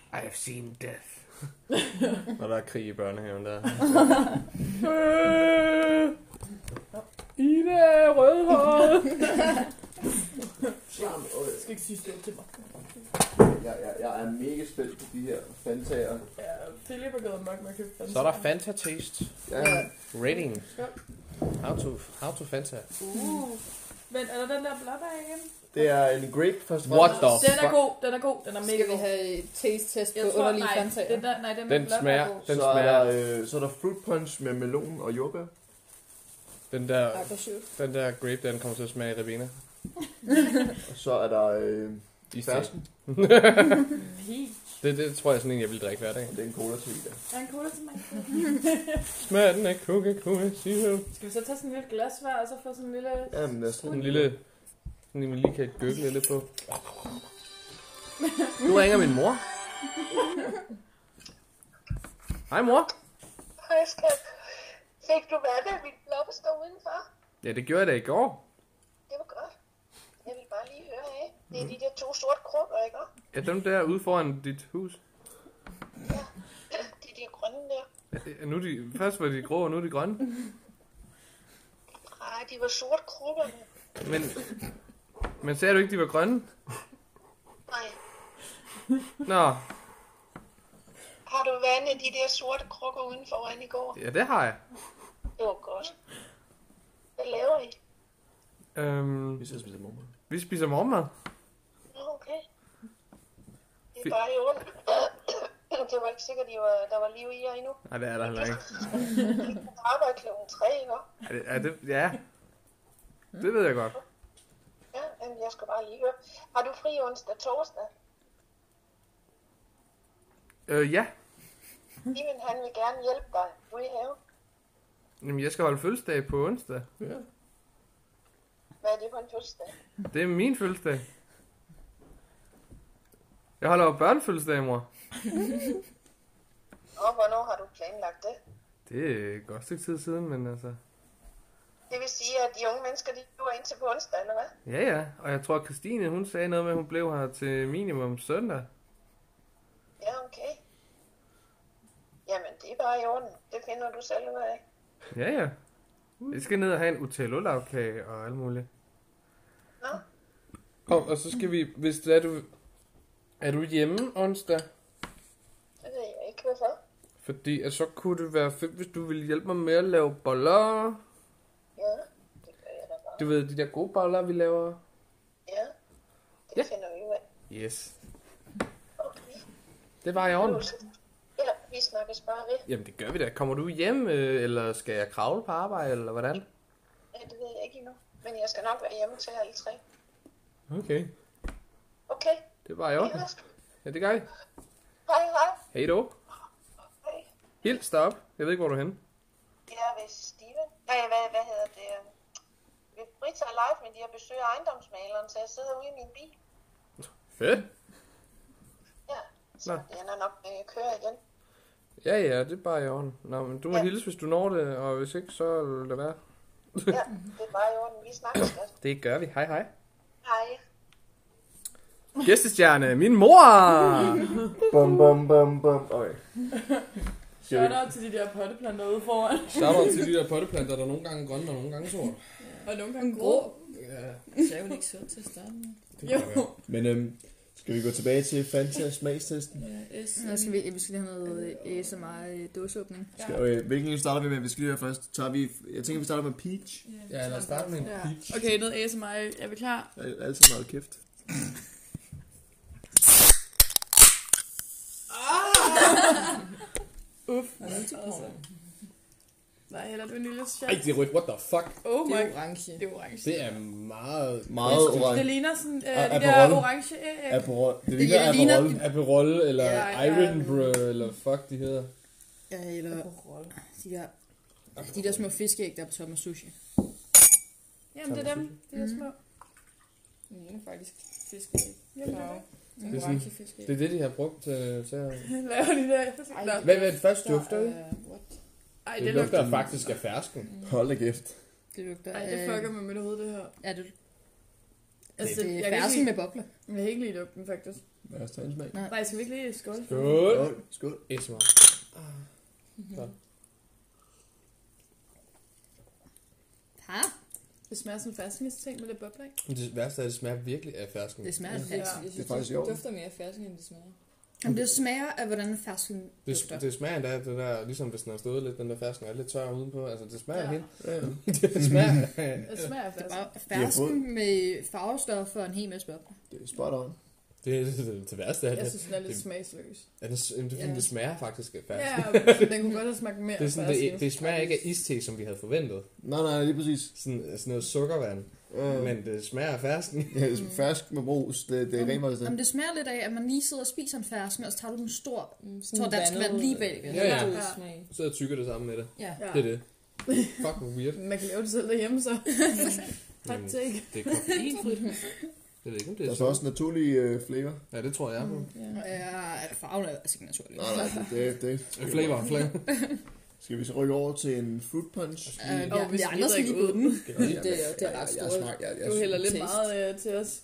Speaker 2: I have seen death. Når der er krig i børnehaven, der. Øh, Ida er rødhåret.
Speaker 3: Jamen, øh,
Speaker 1: Jeg skal ikke sige stille til mig.
Speaker 3: Jeg, jeg, jeg er mega spændt på de her fantager.
Speaker 1: Ja, Philip er gået amok med at købe Fanta.
Speaker 2: Så er der Fanta Taste.
Speaker 3: Ja,
Speaker 2: Rating. How to, how to Fanta.
Speaker 1: Uh. Men er der den der blåbær igen?
Speaker 3: det er en grape først og
Speaker 2: What
Speaker 3: fremmest.
Speaker 2: the
Speaker 1: Den er
Speaker 2: fuck?
Speaker 1: god, den er god, den er mega
Speaker 4: Skal vi
Speaker 1: god.
Speaker 4: have et taste-test på
Speaker 1: Jeg tror,
Speaker 4: underlige
Speaker 1: nej,
Speaker 4: fantager?
Speaker 1: den der, nej, den,
Speaker 2: Den
Speaker 1: med blåbær
Speaker 2: smager,
Speaker 1: er god.
Speaker 2: den
Speaker 3: så, er
Speaker 2: smager,
Speaker 3: der, øh, så er der fruit punch med melon og jordbær.
Speaker 2: den der,
Speaker 4: Aggressivt.
Speaker 2: den der grape, den kommer til at smage i ribena.
Speaker 3: Og så er der øh,
Speaker 2: I stedet.
Speaker 3: fersken.
Speaker 1: Peach.
Speaker 2: Det, det tror jeg sådan en, jeg vil drikke hver dag.
Speaker 3: Og det er en cola til der.
Speaker 1: Er der en cola til mig?
Speaker 2: Smagen af Coca-Cola Zero.
Speaker 1: Skal vi så tage sådan en lille glas hver, og så få sådan en lille...
Speaker 3: Jamen, lad os tage
Speaker 2: Sådan en
Speaker 3: den.
Speaker 2: lille, sådan en, man lige kan gøgle lidt på. Nu ringer min mor. Hej mor.
Speaker 10: Hej skat. Fik du været ved min blomster udenfor?
Speaker 2: Ja, det gjorde jeg da i går.
Speaker 10: Det var godt. Jeg vil bare lige høre af. Det er de der to sorte krukker, ikke?
Speaker 2: Ja, dem der ude foran dit hus.
Speaker 10: De er de grønne der.
Speaker 2: Ja, Nu er de, først var de grå, og nu er de grønne.
Speaker 10: Nej, de var sorte krukkerne.
Speaker 2: Men Men sagde du ikke, de var grønne?
Speaker 10: Nej.
Speaker 2: Nå,
Speaker 10: Har du vandet de der sorte krukker uden foran i går?
Speaker 2: ja, det har jeg.
Speaker 10: Det var godt. Hvad laver I?
Speaker 2: Øhm,
Speaker 3: Vi skal spise mormor.
Speaker 2: vi spiser morgenmad.
Speaker 10: Nå, okay. Det
Speaker 2: Fedt.
Speaker 10: er bare i ondt. det var ikke sikkert, at var, der var liv i jer endnu.
Speaker 2: Nej, det er der heller ikke.
Speaker 10: I gik på arbejde kl. 3, ikke?
Speaker 2: Er det, er det, ja, det ved jeg godt.
Speaker 10: Ja, jamen, jeg skal bare lige høre. Har du fri onsdag torsdag?
Speaker 2: Øh, ja,
Speaker 10: Steven, han vil gerne hjælpe dig ude i haven.
Speaker 2: Jamen, jeg skal holde fødselsdag på onsdag.
Speaker 10: Hvad er det for en fødselsdag?
Speaker 2: Det er min fødselsdag. Jeg holder jo børnefødselsdag, mor.
Speaker 10: Og hvornår har du planlagt det?
Speaker 2: Det er et godt stykke tid siden, men altså...
Speaker 10: Det vil sige, at de unge mennesker, de bliver indtil på onsdag, eller hvad?
Speaker 2: Ja, ja. Og jeg tror, Christine, hun sagde noget med, at hun blev her til minimum søndag.
Speaker 10: Ja, okay. Jamen, det er bare i orden. Det finder du selv ud af.
Speaker 2: Ja, ja. Vi skal ned og have en utello-lavkage og alt muligt.
Speaker 10: Nå.
Speaker 2: Kom, og så skal vi... Hvis det er du... Er du hjemme onsdag?
Speaker 10: Det ved jeg ikke, hvorfor.
Speaker 2: Fordi at så kunne det være fedt, hvis du ville hjælpe mig med at lave boller.
Speaker 10: Ja, det gør jeg da bare.
Speaker 2: Du ved, de der gode boller, vi laver.
Speaker 10: Ja, det
Speaker 2: Ja.
Speaker 10: finder vi ud af.
Speaker 2: Yes.
Speaker 10: Okay.
Speaker 2: Det var i orden.
Speaker 10: Ja, vi snakkes bare ved.
Speaker 2: Jamen det gør vi da. Kommer du hjem, øh, eller skal jeg kravle på arbejde, eller hvordan?
Speaker 10: Ja, det ved jeg ikke endnu. Men jeg skal nok være hjemme til halv tre.
Speaker 2: Okay.
Speaker 10: Okay,
Speaker 2: Det var i
Speaker 10: vi
Speaker 2: orden.
Speaker 10: høres.
Speaker 2: Ja, det gør vi.
Speaker 10: Hej, hej.
Speaker 2: Hej då.
Speaker 10: Hej.
Speaker 2: Hils dig op. Jeg ved ikke, hvor du er henne.
Speaker 10: Jeg er ved Steven. Nej, hvad, hvad hedder det? Ved Brita Live, men de har besøg af ejendomsmaleren, så jeg sidder ude i min bil.
Speaker 2: Fedt.
Speaker 10: Ja, så
Speaker 2: Nå.
Speaker 10: Nå. jeg ender nok med at køre igen.
Speaker 2: Ja, ja, det er bare i orden. Nå, men du må
Speaker 10: Ja.
Speaker 2: hilse, hvis du når det, og hvis ikke, så lad det være.
Speaker 10: Ja, det er bare i orden. Vi snakkes godt.
Speaker 2: Det gør vi. Hej, hej.
Speaker 10: Hej.
Speaker 2: Gæstestjerne, min mor!
Speaker 3: Bum, bum, bum, bum. Okay. Siger vi-
Speaker 1: Shout out til de der potteplanter ude foran.
Speaker 2: Shout out til de der potteplanter, der er nogle gange grønne og nogle gange sorte.
Speaker 1: Og nogle gange grå.
Speaker 2: Ja,
Speaker 11: Så er hun ikke sund til at starte med.
Speaker 2: det
Speaker 1: Jo.
Speaker 3: Men øhm, skal vi gå tilbage til Fanta smagstesten?
Speaker 11: Ja, S.
Speaker 4: Nu skal vi, vi skal lige have noget øh, ASMR-dåseåbning.
Speaker 3: Skal, øh, hvilken en starter vi med? Vi skal lige være først. Tager vi, jeg tænker, vi starter med peach.
Speaker 2: Ja, lad os starte med en
Speaker 1: Ja.
Speaker 2: peach.
Speaker 1: Okay, noget ASMR. Er vi klar?
Speaker 3: Al- Alt sammen meget kæft.
Speaker 1: Uff. Altså. Nej, heller du en lille
Speaker 2: Ej,
Speaker 1: chat.
Speaker 2: det er rødt. What the fuck?
Speaker 1: Oh
Speaker 11: Det
Speaker 1: my
Speaker 11: er orange.
Speaker 1: Det er orange.
Speaker 2: Det er meget...
Speaker 3: Meget
Speaker 1: Det
Speaker 3: orange.
Speaker 1: ligner sådan øh,
Speaker 3: A-
Speaker 1: de der
Speaker 3: Aperol.
Speaker 1: orange æg.
Speaker 3: Aperol. Det
Speaker 4: Det
Speaker 3: ligner
Speaker 4: ligner-
Speaker 3: Aperol.
Speaker 2: Aperol, eller
Speaker 1: Ja, ja.
Speaker 2: Iron Brew, eller fuck, de hedder.
Speaker 4: Ja, eller de der, de der små fiskeæg, der er på toppen af sushi.
Speaker 1: Jamen, det er dem. Det er små.
Speaker 2: Mm-hmm.
Speaker 11: Den ene er faktisk fisk.
Speaker 1: Jamen, det er det.
Speaker 11: Den
Speaker 2: Det er
Speaker 11: orange fisk.
Speaker 2: Det er det, de har brugt til... til at-
Speaker 1: Laver de der. Nå.
Speaker 2: Hvad hvad er det første dufter,
Speaker 4: øh,
Speaker 2: ikke?
Speaker 11: øh, What?
Speaker 1: Ej,
Speaker 2: Det
Speaker 1: det
Speaker 2: lugter
Speaker 1: lugter.
Speaker 2: faktisk af fersken.
Speaker 3: Hold da kæft.
Speaker 4: Det lugter øh,
Speaker 1: Ej, det fucker med mit hoved, det her.
Speaker 4: Er det,
Speaker 1: Altså,
Speaker 4: det, det
Speaker 1: jeg
Speaker 4: er
Speaker 1: kan
Speaker 4: fersken
Speaker 1: ikke
Speaker 4: med bobler?
Speaker 1: lide- jeg kan ikke lide lugten, faktisk.
Speaker 3: Lad os tage en smag.
Speaker 1: Nej, skal vi ikke lige skåle?
Speaker 2: Skål!
Speaker 3: Skål. Skål.
Speaker 2: ASMR.
Speaker 4: Ha?
Speaker 1: Det smager som ferskningsting med lidt bobler, ikke?
Speaker 2: Men Det værste er, at det smager virkelig af fersken.
Speaker 4: Det smager af
Speaker 11: Ja,
Speaker 4: fersken.
Speaker 11: jeg
Speaker 3: Det
Speaker 11: synes,
Speaker 3: er faktisk i
Speaker 11: det
Speaker 3: orden.
Speaker 11: dufter mere fersken, end det smager.
Speaker 4: Jamen, det smager af, hvordan fersken
Speaker 2: Det,
Speaker 4: lugter.
Speaker 2: det smager endda, af det der, ligesom hvis den har stået lidt, den der fersken er lidt tør udenpå. Altså, det smager
Speaker 1: Ja.
Speaker 2: ja. helt.
Speaker 3: Ja, ja.
Speaker 2: Det smager.
Speaker 1: Det smager af
Speaker 4: Det
Speaker 1: fersken.
Speaker 4: er altså, bare fersken med farvestoffer og en hel masse bobler.
Speaker 3: Det er spot on.
Speaker 2: det, det, det, det værste er,
Speaker 1: Jeg
Speaker 2: det,
Speaker 1: synes, den er lidt
Speaker 2: det-
Speaker 1: smagsløs.
Speaker 2: er det, jamen, det, er fordi,
Speaker 1: Ja.
Speaker 2: det smager faktisk af fersken.
Speaker 1: Ja, den kunne godt have smagt mere
Speaker 2: Det, er sådan,
Speaker 1: fersken.
Speaker 2: det, det smager ikke af iste, som vi havde forventet.
Speaker 3: Nej, nej, lige præcis.
Speaker 2: Sådan, sådan noget sukkervand.
Speaker 3: Øh,
Speaker 2: Men det smager af fersken.
Speaker 3: ja, fersk med brus, det, det er rent meget
Speaker 4: Jamen, det smager lidt af, at man lige sidder og spiser en fersken, og så tager du den stor.
Speaker 11: Mm,
Speaker 4: Jeg tror, der skal være lige bag det.
Speaker 2: Ja, ja.
Speaker 11: Ja, ja.
Speaker 2: Så jeg tykker det sammen med det.
Speaker 4: Ja.
Speaker 1: Ja.
Speaker 2: Det Mm. er det. Fuck, hvor weird.
Speaker 1: Man kan lave det selv derhjemme, så. Hot
Speaker 2: Jamen,
Speaker 1: take.
Speaker 2: det er koffeinfrit. Jeg ved ikke, om det er
Speaker 3: Der er så også naturlig øh, flavor.
Speaker 2: Ja, det tror jeg. Mm.
Speaker 4: Ja, farven er altså ikke naturlig.
Speaker 3: Nej, nej, det, det, det.
Speaker 2: Flavor, flavor.
Speaker 3: Skal vi så rykke over til en fruit punch?
Speaker 4: Øh,
Speaker 1: Og
Speaker 4: ja,
Speaker 1: vi
Speaker 4: vi
Speaker 1: smider
Speaker 4: andre skal
Speaker 1: ikke
Speaker 4: lige
Speaker 1: ud.
Speaker 4: på den.
Speaker 11: er- det er ret
Speaker 3: Jeg- jeg- Jeg
Speaker 11: stort.
Speaker 3: smag, jeg, jeg,
Speaker 1: Du hælder lidt
Speaker 11: Taste.
Speaker 1: meget øh, til os.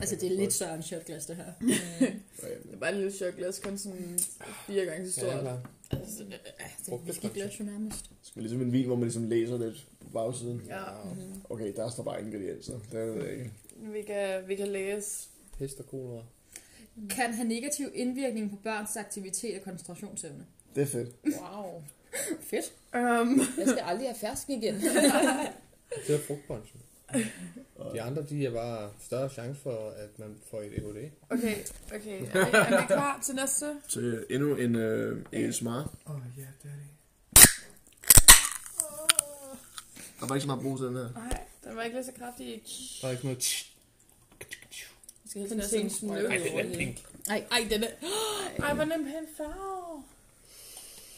Speaker 4: Altså, det er lidt større end shotglas, det her.
Speaker 1: Det er bare et lille chokolads, kun sådan fire gange så
Speaker 2: Ja,
Speaker 1: stort.
Speaker 2: klar.
Speaker 4: Altså, det er- det er
Speaker 2: Brugte
Speaker 4: en whiskyglas jo nærmest.
Speaker 3: Skal ligesom en vin, hvor man ligesom læser lidt på bagsiden. Ah.
Speaker 1: Ja. Mhm.
Speaker 3: Okay, der står bare ingredienser. Det ved jeg ikke.
Speaker 1: Vi kan, vi kan læse.
Speaker 2: Hest og kolera.
Speaker 12: Kan have negativ indvirkning på børns aktivitet og koncentrationsevne.
Speaker 3: Det er fedt.
Speaker 4: Wow.
Speaker 12: Fedt.
Speaker 1: Um,
Speaker 4: Jeg skal aldrig have fersken igen.
Speaker 2: Det er frugtbranchen. De andre, de er bare større chance for, at man får et EOD.
Speaker 1: okay, okay. Er vi, er vi klar til næste?
Speaker 3: Så øh, endnu en øh, ASMR.
Speaker 2: Åh, oh, ja, det er det.
Speaker 3: Der var ikke så meget brug til den her.
Speaker 1: Nej, den var ikke lige så kraftig.
Speaker 2: Der er ikke sådan noget... tsk.
Speaker 4: Jeg skal helst
Speaker 1: Den er
Speaker 4: næsten
Speaker 1: sådan
Speaker 4: en
Speaker 1: en
Speaker 4: smule
Speaker 2: Ej, den
Speaker 4: over
Speaker 2: er pink.
Speaker 12: Ej, ej, den er...
Speaker 1: Ej, hvor nem pæn farve.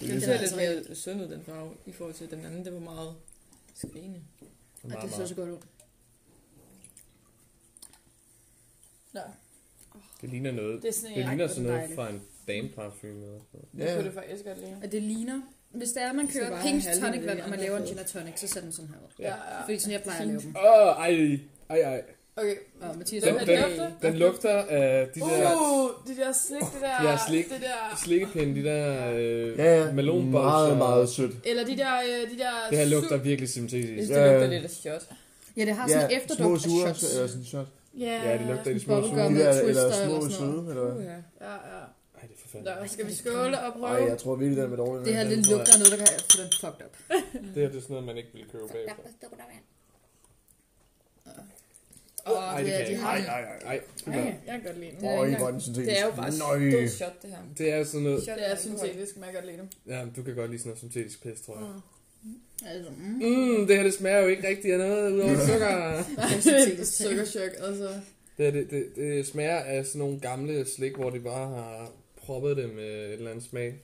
Speaker 4: Den ser lidt mere sund ud, den farve, i forhold til den anden. Det var meget skrigende.
Speaker 2: Den
Speaker 12: Ej,
Speaker 2: er meget,
Speaker 12: det ser
Speaker 2: meget.
Speaker 12: så godt ud.
Speaker 2: Det ligner noget.
Speaker 1: Det er sådan
Speaker 2: Det
Speaker 1: en,
Speaker 2: ligner
Speaker 12: hvor er
Speaker 2: sådan
Speaker 12: den
Speaker 2: noget
Speaker 12: dejlig.
Speaker 2: fra en dameparfume eller sådan noget.
Speaker 1: det kunne det faktisk godt lide.
Speaker 12: Og det ligner... Hvis det er, at man
Speaker 4: Det skal
Speaker 12: kører
Speaker 4: bare
Speaker 12: pink
Speaker 4: have halvdelen
Speaker 12: tonic vand,
Speaker 4: af
Speaker 12: og man
Speaker 4: det
Speaker 12: laver en
Speaker 4: andet.
Speaker 12: gin og tonic, så ser den sådan her ud.
Speaker 1: Ja, ja.
Speaker 12: Fordi sådan, jeg plejer at lave dem.
Speaker 2: Åh, oh, ej, ej, ej.
Speaker 1: Okay.
Speaker 12: Og Mathias,
Speaker 2: Den,
Speaker 12: hvad er
Speaker 2: den,
Speaker 12: det?
Speaker 1: lugter?
Speaker 2: den lugter af de der
Speaker 1: Uh, det der slik, det der...
Speaker 2: De der slik.
Speaker 1: Det der...
Speaker 2: slikkepinde, de der øh,
Speaker 3: Ja, ja.
Speaker 2: melonbolser.
Speaker 3: Meget, meget sødt.
Speaker 1: Eller de der... øh, De der
Speaker 2: Det her
Speaker 1: su-
Speaker 2: lugter virkelig syntetisk.
Speaker 4: Jeg synes,
Speaker 2: Ja,
Speaker 4: det
Speaker 3: Ja.
Speaker 4: lugter lidt af shot.
Speaker 12: Ja, det har sådan en
Speaker 3: små
Speaker 12: efterdunk af
Speaker 3: sure, øh,
Speaker 12: shots.
Speaker 3: eller sådan shot.
Speaker 1: Ja,
Speaker 2: ja det lugter af de små
Speaker 12: Bubblegum.
Speaker 2: sure.
Speaker 3: De der,
Speaker 12: Twister
Speaker 3: eller
Speaker 12: eller
Speaker 3: små
Speaker 12: sådan
Speaker 3: søde, eller hvad?
Speaker 4: ja.
Speaker 1: Ja, ja.
Speaker 2: Ej, det er forfærdeligt.
Speaker 1: Nå, skal vi skåle og prøve?
Speaker 3: Ej, jeg tror virkelig, den er dårlig.
Speaker 12: Det her, det
Speaker 3: Den tror jeg-
Speaker 12: lugter af noget, der kan få den fucked up.
Speaker 2: Det her det er sådan noget, man ikke ville købe bagefter.
Speaker 12: Og
Speaker 2: Ej, det
Speaker 12: det,
Speaker 2: kan
Speaker 12: er-
Speaker 2: jeg
Speaker 12: de
Speaker 2: ikke.
Speaker 12: har
Speaker 2: Ej, ej, ej, ej. Fy mand.
Speaker 1: Jeg kan godt lide dem.
Speaker 4: Det er
Speaker 3: Øj,
Speaker 4: ikke
Speaker 3: hvor er den syntetisk.
Speaker 4: Det er jo bare
Speaker 3: Nøj.
Speaker 4: død shot, det her.
Speaker 2: Det er sådan noget...
Speaker 4: Shot
Speaker 1: Det er
Speaker 4: af alkohol.
Speaker 1: syntetisk, men jeg kan godt lide dem.
Speaker 2: Ja, du kan godt lide sådan noget syntetisk pis, tror jeg.
Speaker 12: altså, mm,
Speaker 2: Mm, det her det smager jo ikke rigtig af noget udover sukker.
Speaker 1: Sukkerchok, altså.
Speaker 2: Det, her, det, det, det smager af sådan nogle gamle slik, hvor de bare har proppet det med et eller andet smag.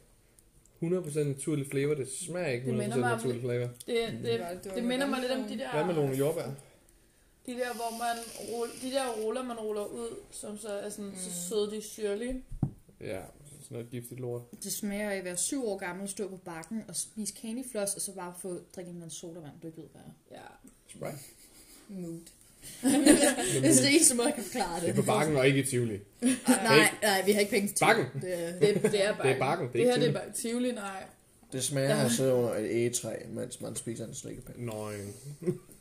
Speaker 2: 100% naturlig flavor, det smager ikke
Speaker 1: Det
Speaker 2: 100%
Speaker 1: minder mig om-
Speaker 2: naturlig flavor.
Speaker 1: Det, det,
Speaker 4: var-
Speaker 1: det minder mig lidt om de der...
Speaker 2: Hvad med nogle jordbær?
Speaker 1: De der, hvor man ruller, de der ruller, man ruller ud, som så er sådan, mm. så søde de er syrlige.
Speaker 2: Ja, sådan noget giftigt lort.
Speaker 12: det smager af at være syv år gammel, stå på bakken og spise candyfloss, og så bare få drikket en sodavand, du ikke ved, hvad er.
Speaker 1: Ja.
Speaker 2: Sprite.
Speaker 4: Mood.
Speaker 12: Det er det eneste måde, jeg kan forklare det.
Speaker 2: Det er på bakken og ikke i Tivoli.
Speaker 12: Nej, nej, vi har ikke penge til
Speaker 2: Bakken!
Speaker 12: det. er-
Speaker 1: Det, det er
Speaker 2: Det
Speaker 1: bare
Speaker 2: er bakken, det
Speaker 1: Det,
Speaker 2: er
Speaker 1: her,
Speaker 2: ikke
Speaker 1: det er bare Tivoli,
Speaker 2: Tivoli.
Speaker 1: nej.
Speaker 3: Det smager af at sidde under et egetræ, mens man spiser en slikkepinde.
Speaker 2: Nøj.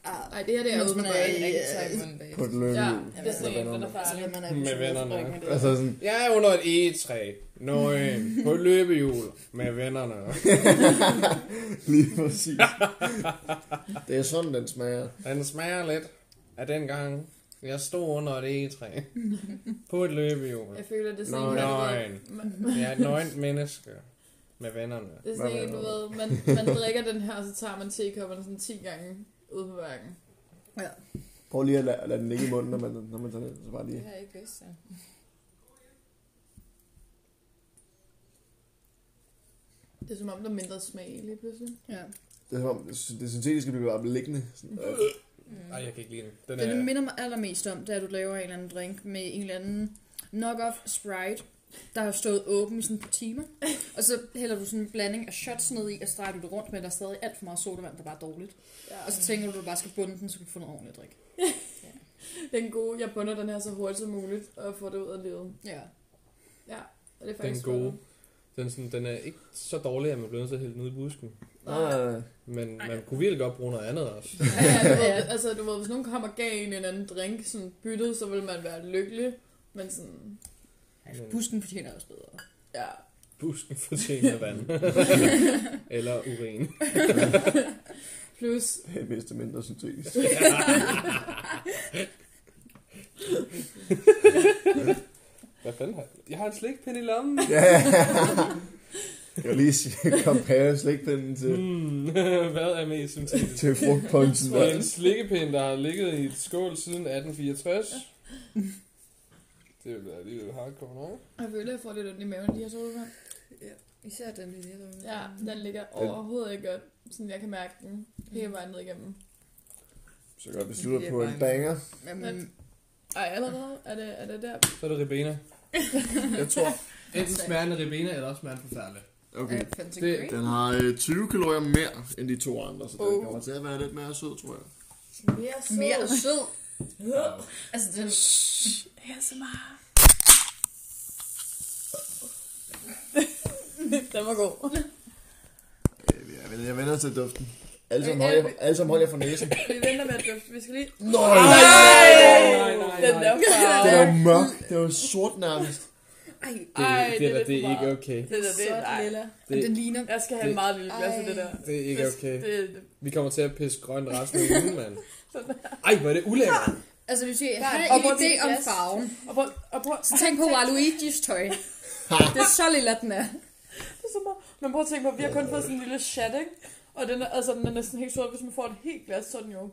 Speaker 12: Ah,
Speaker 1: Nej, det her, det er
Speaker 12: Hvis
Speaker 1: åbent
Speaker 12: man
Speaker 4: Det er
Speaker 1: bag.
Speaker 4: en rigtig sej mund
Speaker 3: På
Speaker 4: bag.
Speaker 3: et løbehjul.
Speaker 1: Ja,
Speaker 3: Ja.
Speaker 1: det er sådan en, den er
Speaker 12: altså,
Speaker 1: farlig.
Speaker 12: man er
Speaker 2: Med vennerne.
Speaker 3: Altså sådan,
Speaker 2: Jeg er under et egetræ. Nøj. På et løbehjul. Med vennerne.
Speaker 3: lige præcis. det er sådan, den smager.
Speaker 2: Den smager lidt af den gang, jeg stod under et egetræ. På et løbehjul.
Speaker 1: Jeg føler, det er sådan
Speaker 2: Nøj.
Speaker 1: en, du
Speaker 2: Nøj.
Speaker 1: ved, man-
Speaker 2: Jeg er et nøgent menneske. Med vennerne.
Speaker 1: det er sådan
Speaker 3: Hvad
Speaker 1: en, du
Speaker 3: mener
Speaker 1: ved, man, man drikker den her, og så tager man tekopperne sådan 10 gange ude på bakken.
Speaker 3: Prøv lige at lade, lade den ligge i munden, når man, når man tager den. Så bare
Speaker 4: Det
Speaker 3: lige.
Speaker 4: har jeg ikke lyst til.
Speaker 1: Det er som om, der er mindre smag lige pludselig.
Speaker 12: Ja.
Speaker 3: Det er som om, det det syntetiske bliver bare liggende. Sådan, øh.
Speaker 2: Ej, jeg kan ikke lide den. Den
Speaker 12: Det, det
Speaker 2: er...
Speaker 12: minder mig allermest om, det er, at du laver en eller anden drink med en eller anden knock-off Sprite, der har stået åben i sådan et par timer. Og så hælder du sådan en blanding af shots ned i, og streger du det rundt, men der er stadig alt for meget sodavand, der bare er dårligt.
Speaker 4: Mm.
Speaker 1: Ja.
Speaker 12: Og så tænker du, at du bare skal bunde den, så kan du få noget ordentligt at drikke.
Speaker 1: Den gode, jeg bunder den her så hurtigt som muligt, og får det ud af livet.
Speaker 12: Ja.
Speaker 1: Og det er faktisk
Speaker 2: gode.
Speaker 1: godt.
Speaker 2: Den, er sådan, den er ikke så dårlig, at man bliver nødt til at hælde den ud i busken.
Speaker 3: Nej,
Speaker 2: Men man kunne virkelig godt bruge noget andet også.
Speaker 1: Ja, ja, du ved, altså, du ved, hvis nogen kom og gav en en anden drink, sådan byttet, så ville man være lykkelig. Men sådan,
Speaker 2: Men
Speaker 12: Busken fortjener også bedre.
Speaker 1: ja.
Speaker 2: busken fortjener vand. Eller urin.
Speaker 1: Plus,
Speaker 3: det er mest og mindre syntetisk.
Speaker 2: Hvad fanden har jeg? Jeg har en slikpinde i lommen.
Speaker 3: Ja. Jeg vil lige sige, compare slikpinden til,
Speaker 2: Hmm, hvad er mest syntetisk?
Speaker 3: til frugtpunchen.
Speaker 2: Det er en slikkepind, der har ligget i et skål siden 1864. Det vil være alligevel hardcore, nej?
Speaker 1: jeg føler, jeg får lidt ondt i maven, de her sodavand.
Speaker 4: Især den lille. den-
Speaker 1: Ja, den ligger overhovedet ikke godt, sådan jeg kan mærke den hele vejen ned igennem.
Speaker 3: Så godt, vi slutter på en banger.
Speaker 12: Men,
Speaker 1: Ej, allerede? Er det, er det der?
Speaker 2: Så er det ribena.
Speaker 3: Jeg tror,
Speaker 2: Enten smager den af ribena, eller også smager den forfærdelig.
Speaker 3: okay.
Speaker 4: Fancy
Speaker 2: Det-
Speaker 4: Grape.
Speaker 3: Den har øh, 20 kalorier mere end de to andre, så den
Speaker 1: Oh.
Speaker 3: kommer til at være lidt mere sød, tror jeg.
Speaker 1: Mere
Speaker 12: mere sød. Altså, den,
Speaker 1: Mere så meget. Den var god.
Speaker 3: Jeg venter, jeg venter til duften. Alle sammen
Speaker 1: Øh,
Speaker 3: holder
Speaker 1: øh,
Speaker 3: jeg, alle sammen holder jeg for næsen.
Speaker 1: Vi venter med at dufte. Vi skal lige...
Speaker 3: Nej!
Speaker 1: Nej, Den der
Speaker 3: Det
Speaker 1: farve.
Speaker 3: er jo mørk. Det er jo sort nærmest.
Speaker 2: Det,
Speaker 1: Ej,
Speaker 2: det,
Speaker 1: det er
Speaker 2: det,
Speaker 1: lidt
Speaker 2: det er
Speaker 1: for
Speaker 2: ikke
Speaker 1: meget.
Speaker 2: okay.
Speaker 1: Det der, det er nej.
Speaker 2: Det,
Speaker 12: Den ligner...
Speaker 1: Jeg skal have en
Speaker 2: Det-
Speaker 1: meget lille glas af det der.
Speaker 2: det er ikke
Speaker 1: Det-
Speaker 2: okay.
Speaker 1: Det, det,
Speaker 2: Vi kommer til at pisse grøn resten af ugen, mand. Ej, hvor er det ulækkert.
Speaker 12: Altså, hvis jeg
Speaker 1: har
Speaker 12: har
Speaker 1: en
Speaker 12: en
Speaker 1: idé
Speaker 12: idé om
Speaker 1: om
Speaker 12: farven,
Speaker 1: og prøv, og prøv,
Speaker 12: så tænk på Waluigi's tøj. Det er så lille, den er.
Speaker 1: det er så meget. Men prøv at tænke på, vi har kun fået sådan en lille chat, ikke? Og den er, altså, den er næsten helt sort. Hvis man får et helt glas, så er den jo.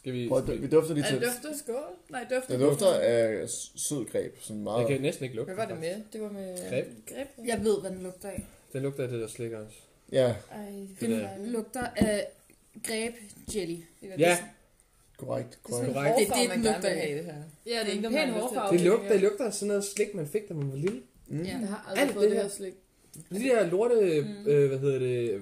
Speaker 2: Skal vi...
Speaker 3: Prøv, at dufte- vi dufter lige
Speaker 1: Er
Speaker 3: til.
Speaker 1: det dufter? Skål. Nej, dufter.
Speaker 3: Det dufter af s- sød greb. Sådan meget.
Speaker 2: Jeg kan næsten ikke lugte.
Speaker 4: Hvad var det med? Det var med...
Speaker 2: Greb.
Speaker 1: Greb.
Speaker 12: Jeg ved, hvad den lugter af.
Speaker 2: Den lugter af det der slikker også.
Speaker 3: Ja,
Speaker 4: Ej, det
Speaker 2: Det
Speaker 12: Den
Speaker 4: var
Speaker 2: der.
Speaker 4: dejligt.
Speaker 12: lugter af greb jelly.
Speaker 4: Det var
Speaker 2: Ja,
Speaker 4: det-
Speaker 3: korrekt.
Speaker 4: Det er
Speaker 3: korrekt.
Speaker 2: Korrekt.
Speaker 4: sådan en hårfarve,
Speaker 12: Det er det,
Speaker 4: man
Speaker 12: den
Speaker 4: gerne
Speaker 12: lugter
Speaker 4: vil
Speaker 12: af.
Speaker 4: have i det her.
Speaker 1: Ja, det er ikke
Speaker 4: en
Speaker 1: en pæn
Speaker 4: pæn
Speaker 1: hårfarve.
Speaker 2: Det lugter, det lugter af sådan noget slik, man fik, da man var lille.
Speaker 3: Mm.
Speaker 12: Ja.
Speaker 1: Jeg har aldrig
Speaker 2: Alt
Speaker 1: fået
Speaker 2: det
Speaker 1: det
Speaker 2: her.
Speaker 1: her slik.
Speaker 2: De der lorte, mm. øh, hvad hedder det,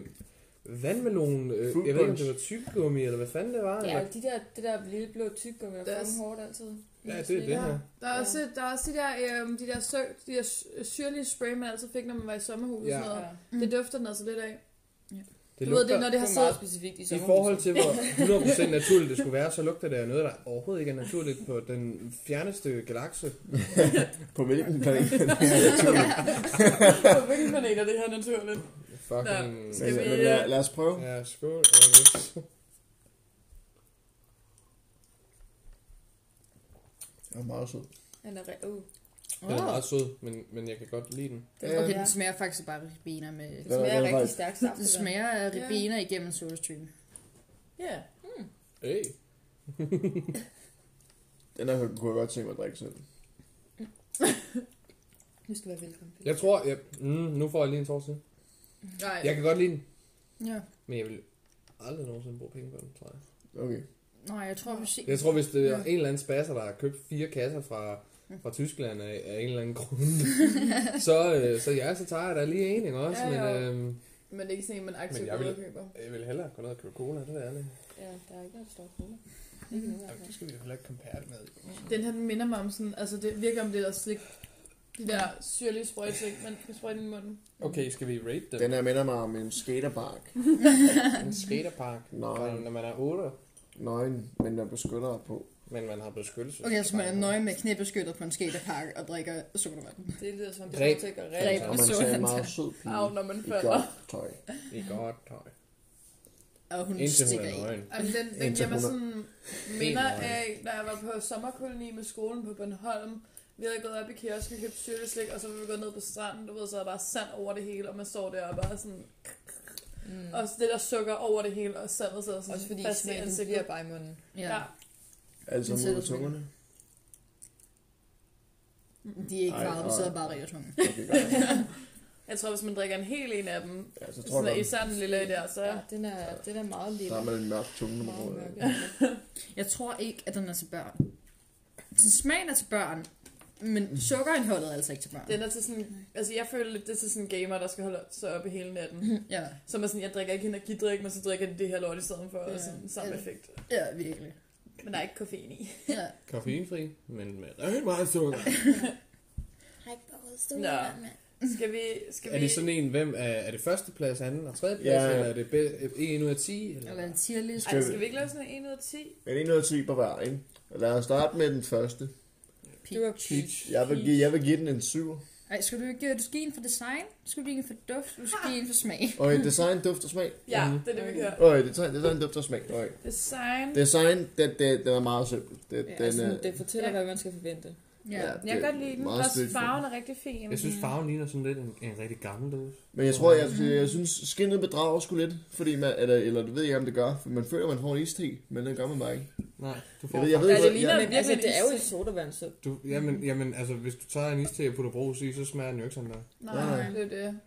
Speaker 2: vandmelon, øh,
Speaker 3: Fruit
Speaker 2: jeg ved ikke om
Speaker 3: punch.
Speaker 2: det var tyggegummi, eller hvad fanden det var.
Speaker 4: Ja,
Speaker 2: eller-
Speaker 4: og de der, det der lille blå tyggegummi er
Speaker 1: Der er
Speaker 4: fandme
Speaker 1: s-
Speaker 4: hårdt altid.
Speaker 2: ja det er det her.
Speaker 13: Der er,
Speaker 4: Ja.
Speaker 13: også, der er også de der, øhm, de der, sø, de der sy- syrlige spray, man altid fik, når man var i sommerhus
Speaker 2: Ja.
Speaker 13: ja. og sådan noget.
Speaker 4: Ja.
Speaker 13: Det
Speaker 1: Mm.
Speaker 13: dufter den altså lidt af.
Speaker 2: Det
Speaker 13: Du ved, det
Speaker 2: lugter,
Speaker 13: er, når
Speaker 4: Det
Speaker 13: det har
Speaker 4: er ligesom-
Speaker 13: siddet...
Speaker 4: meget specifikt i
Speaker 2: i
Speaker 4: sommerhuset.
Speaker 2: forhold til, hvor 100% naturligt det skulle være, så lugter det af noget, der overhovedet ikke er naturligt på den fjerneste galakse.
Speaker 3: På hvilken planet?
Speaker 1: På hvilken planet er det her naturligt?
Speaker 2: Fucking...
Speaker 1: Skal vi,
Speaker 3: Men lad, lad os prøve.
Speaker 2: Ja, skål.
Speaker 3: Det er meget sød.
Speaker 4: Den er re- uh.
Speaker 2: Den er meget sød, men, men jeg kan godt lide den.
Speaker 4: Den,
Speaker 12: Okay,
Speaker 4: okay.
Speaker 12: den smager faktisk bare af ribena med...
Speaker 4: Det
Speaker 3: Den er-
Speaker 4: smager
Speaker 3: den er
Speaker 4: rigtig
Speaker 3: faktisk-
Speaker 4: stærkt saft.
Speaker 12: Det
Speaker 4: der.
Speaker 12: smager af ribena igennem en sodastream.
Speaker 1: Ja.
Speaker 2: Hey.
Speaker 3: Den her kunne jeg godt tænke mig at drikke selv.
Speaker 4: Du skal være velkommen.
Speaker 2: Jeg tror, jeg... Mm, nu får jeg lige en tår til.
Speaker 1: Nej.
Speaker 2: Jeg kan godt lide den,
Speaker 12: Ja.
Speaker 2: men jeg vil aldrig nogensinde bruge penge på den, tror jeg.
Speaker 3: Okay.
Speaker 12: Nej, jeg tror, vi ser...
Speaker 2: Jeg tror, hvis det er
Speaker 12: Ja.
Speaker 2: en eller anden spasser, der har købt fire kasser fra, fra Tyskland af, af en eller anden grund, så, øh, så ja, så tager jeg da lige en, ikke også?
Speaker 1: Ja,
Speaker 2: men
Speaker 1: jo.
Speaker 2: øh,
Speaker 1: Men det er ikke sådan en, man aktivt
Speaker 2: Men
Speaker 1: går
Speaker 2: jeg vil-
Speaker 1: ud og køber.
Speaker 2: jeg vil hellere gå ned og købe cola, det er det.
Speaker 4: Ja, der er ikke noget, der står på. Ikke
Speaker 12: Mm.
Speaker 4: noget, altså.
Speaker 2: skal vi jo heller ikke compare det med.
Speaker 1: Den her, den minder mig om sådan... Altså, det virker om det der slik. De der syrlige sprøjting, man kan sprøjte i munden.
Speaker 2: Okay, skal vi rate dem?
Speaker 3: Den her minder mig om en skaterbark.
Speaker 2: en skaterpark,
Speaker 3: Nej.
Speaker 2: når, når man er 8,
Speaker 3: Nøgen, men der beskytter på.
Speaker 2: men man har beskyttelse.
Speaker 12: Okay, så man er nøje med knæbeskyttet på en skaterpark og drikker sodavand.
Speaker 4: Det lyder som, det
Speaker 2: Greb.
Speaker 4: kommer til at gøre
Speaker 2: Greb.
Speaker 4: rigtig
Speaker 3: Og man
Speaker 12: Så
Speaker 3: ser
Speaker 12: han
Speaker 3: en meget
Speaker 12: tager-
Speaker 3: sød pige
Speaker 1: Au, når man
Speaker 3: i
Speaker 1: falder.
Speaker 3: Mm. godt tøj.
Speaker 2: Det er godt tøj.
Speaker 12: Og hun
Speaker 2: Indtil hun
Speaker 12: stikker
Speaker 2: er
Speaker 12: i.
Speaker 2: nøgen.
Speaker 1: Jamen, den, den
Speaker 3: Indtil
Speaker 1: giver mig
Speaker 3: hun er-
Speaker 1: sådan minder af, da jeg var på sommerkoloni med skolen på Bornholm. Vi havde gået op i kiosken, købt syrteslik, og så var vi gået ned på stranden, du ved, så er der bare sand over det hele, og man står der og bare sådan...
Speaker 4: Mm.
Speaker 1: Mm. Og det der sukker over det hele, og sandet sidder sådan
Speaker 4: Også fordi
Speaker 1: fast i
Speaker 4: smagen den
Speaker 12: Altså,
Speaker 1: ansigtet.
Speaker 4: bliver bare i munden.
Speaker 12: Ja.
Speaker 1: Ja.
Speaker 3: Altså
Speaker 12: Den
Speaker 3: mod
Speaker 12: sidder
Speaker 3: tungerne.
Speaker 12: De er ikke
Speaker 3: Ej,
Speaker 12: farvet, de
Speaker 3: ej.
Speaker 12: sidder bare og riger tungen.
Speaker 3: Okay, godt.
Speaker 1: Jeg tror, hvis man drikker en hel en af dem,
Speaker 3: Ja, så tror
Speaker 1: sådan,
Speaker 3: jeg, godt,
Speaker 1: især den lille der, så...
Speaker 4: Ja, den er, den er meget
Speaker 3: der
Speaker 4: lille.
Speaker 3: er man en mørk tunge nummer
Speaker 4: Meget
Speaker 3: otte.
Speaker 4: mørk.
Speaker 12: Jeg tror ikke, at den er til børn. Så smagen er til børn,
Speaker 3: Mm.
Speaker 12: men sukkerindholdet er altså ikke til børn.
Speaker 1: Den er til sådan... Altså, jeg føler lidt, det er til sådan en gamer, der skal holde sig oppe hele natten.
Speaker 12: Ja,
Speaker 1: Som er sådan, jeg drikker ikke energidrik, men så drikker de det her lort i stedet for, og sådan samme
Speaker 12: Ja.
Speaker 1: effekt.
Speaker 12: ja virkelig.
Speaker 1: Men der er ikke koffein i.
Speaker 12: Ja.
Speaker 2: Koffeinfri, men med rigtig meget sukker.
Speaker 1: Nå. Skal vi... Skal
Speaker 2: Er
Speaker 1: vi...
Speaker 2: det sådan en, hvem er, er det førsteplads, anden og tredje plads,
Speaker 3: Ja, ja.
Speaker 2: eller er det be- en ud af 10? Eller?
Speaker 12: Eller en tierlist.
Speaker 1: Ej, skal vi ikke lave sådan en 1 ud af 10?
Speaker 3: Men en ud af 10 på hver, ikke? Lad os starte med den første.
Speaker 4: Det var peach.
Speaker 3: Jeg vil, give, jeg vil give den en 7.
Speaker 12: Ej, skal du ikke øh, du skal give en for design? Skal du give en for duft? Du skal give en for smag.
Speaker 3: Og design, duft og smag.
Speaker 1: Ja, det er det, vi kører.
Speaker 3: Øj, design, design, duft og smag. Øj.
Speaker 1: Design.
Speaker 3: Design, den, den, den er meget simpel. Den, øh,
Speaker 4: Ja,
Speaker 3: den,
Speaker 4: altså,
Speaker 3: er,
Speaker 4: det fortæller,
Speaker 1: Ja.
Speaker 4: hvad man skal forvente.
Speaker 12: Ja.
Speaker 3: ja,
Speaker 1: Jeg
Speaker 3: det
Speaker 1: kan
Speaker 3: er
Speaker 1: godt lide den.
Speaker 3: meget
Speaker 1: Også
Speaker 3: stilfuldt.
Speaker 1: farven er rigtig fin.
Speaker 2: Jeg synes, farven ligner sådan lidt en, en rigtig gammel dåse.
Speaker 3: Men jeg tror, jeg, jeg synes, skinnet bedrager sgu lidt, fordi man, eller, eller det ved jeg, om det gør, for man føler, man får en iste, men den gør man bare ikke.
Speaker 2: Nej, du får
Speaker 3: Jeg ved, jeg ved,
Speaker 4: Ja, det
Speaker 3: godt-
Speaker 4: ligner,
Speaker 3: jeg,
Speaker 4: men altså, det
Speaker 1: virkelig
Speaker 4: er jo
Speaker 1: en
Speaker 4: en sodavand, så
Speaker 2: Du, jamen, jamen, altså, hvis du tager en iste og putter brus i, så smager den jo ikke sådan der.
Speaker 1: Nej, det er det.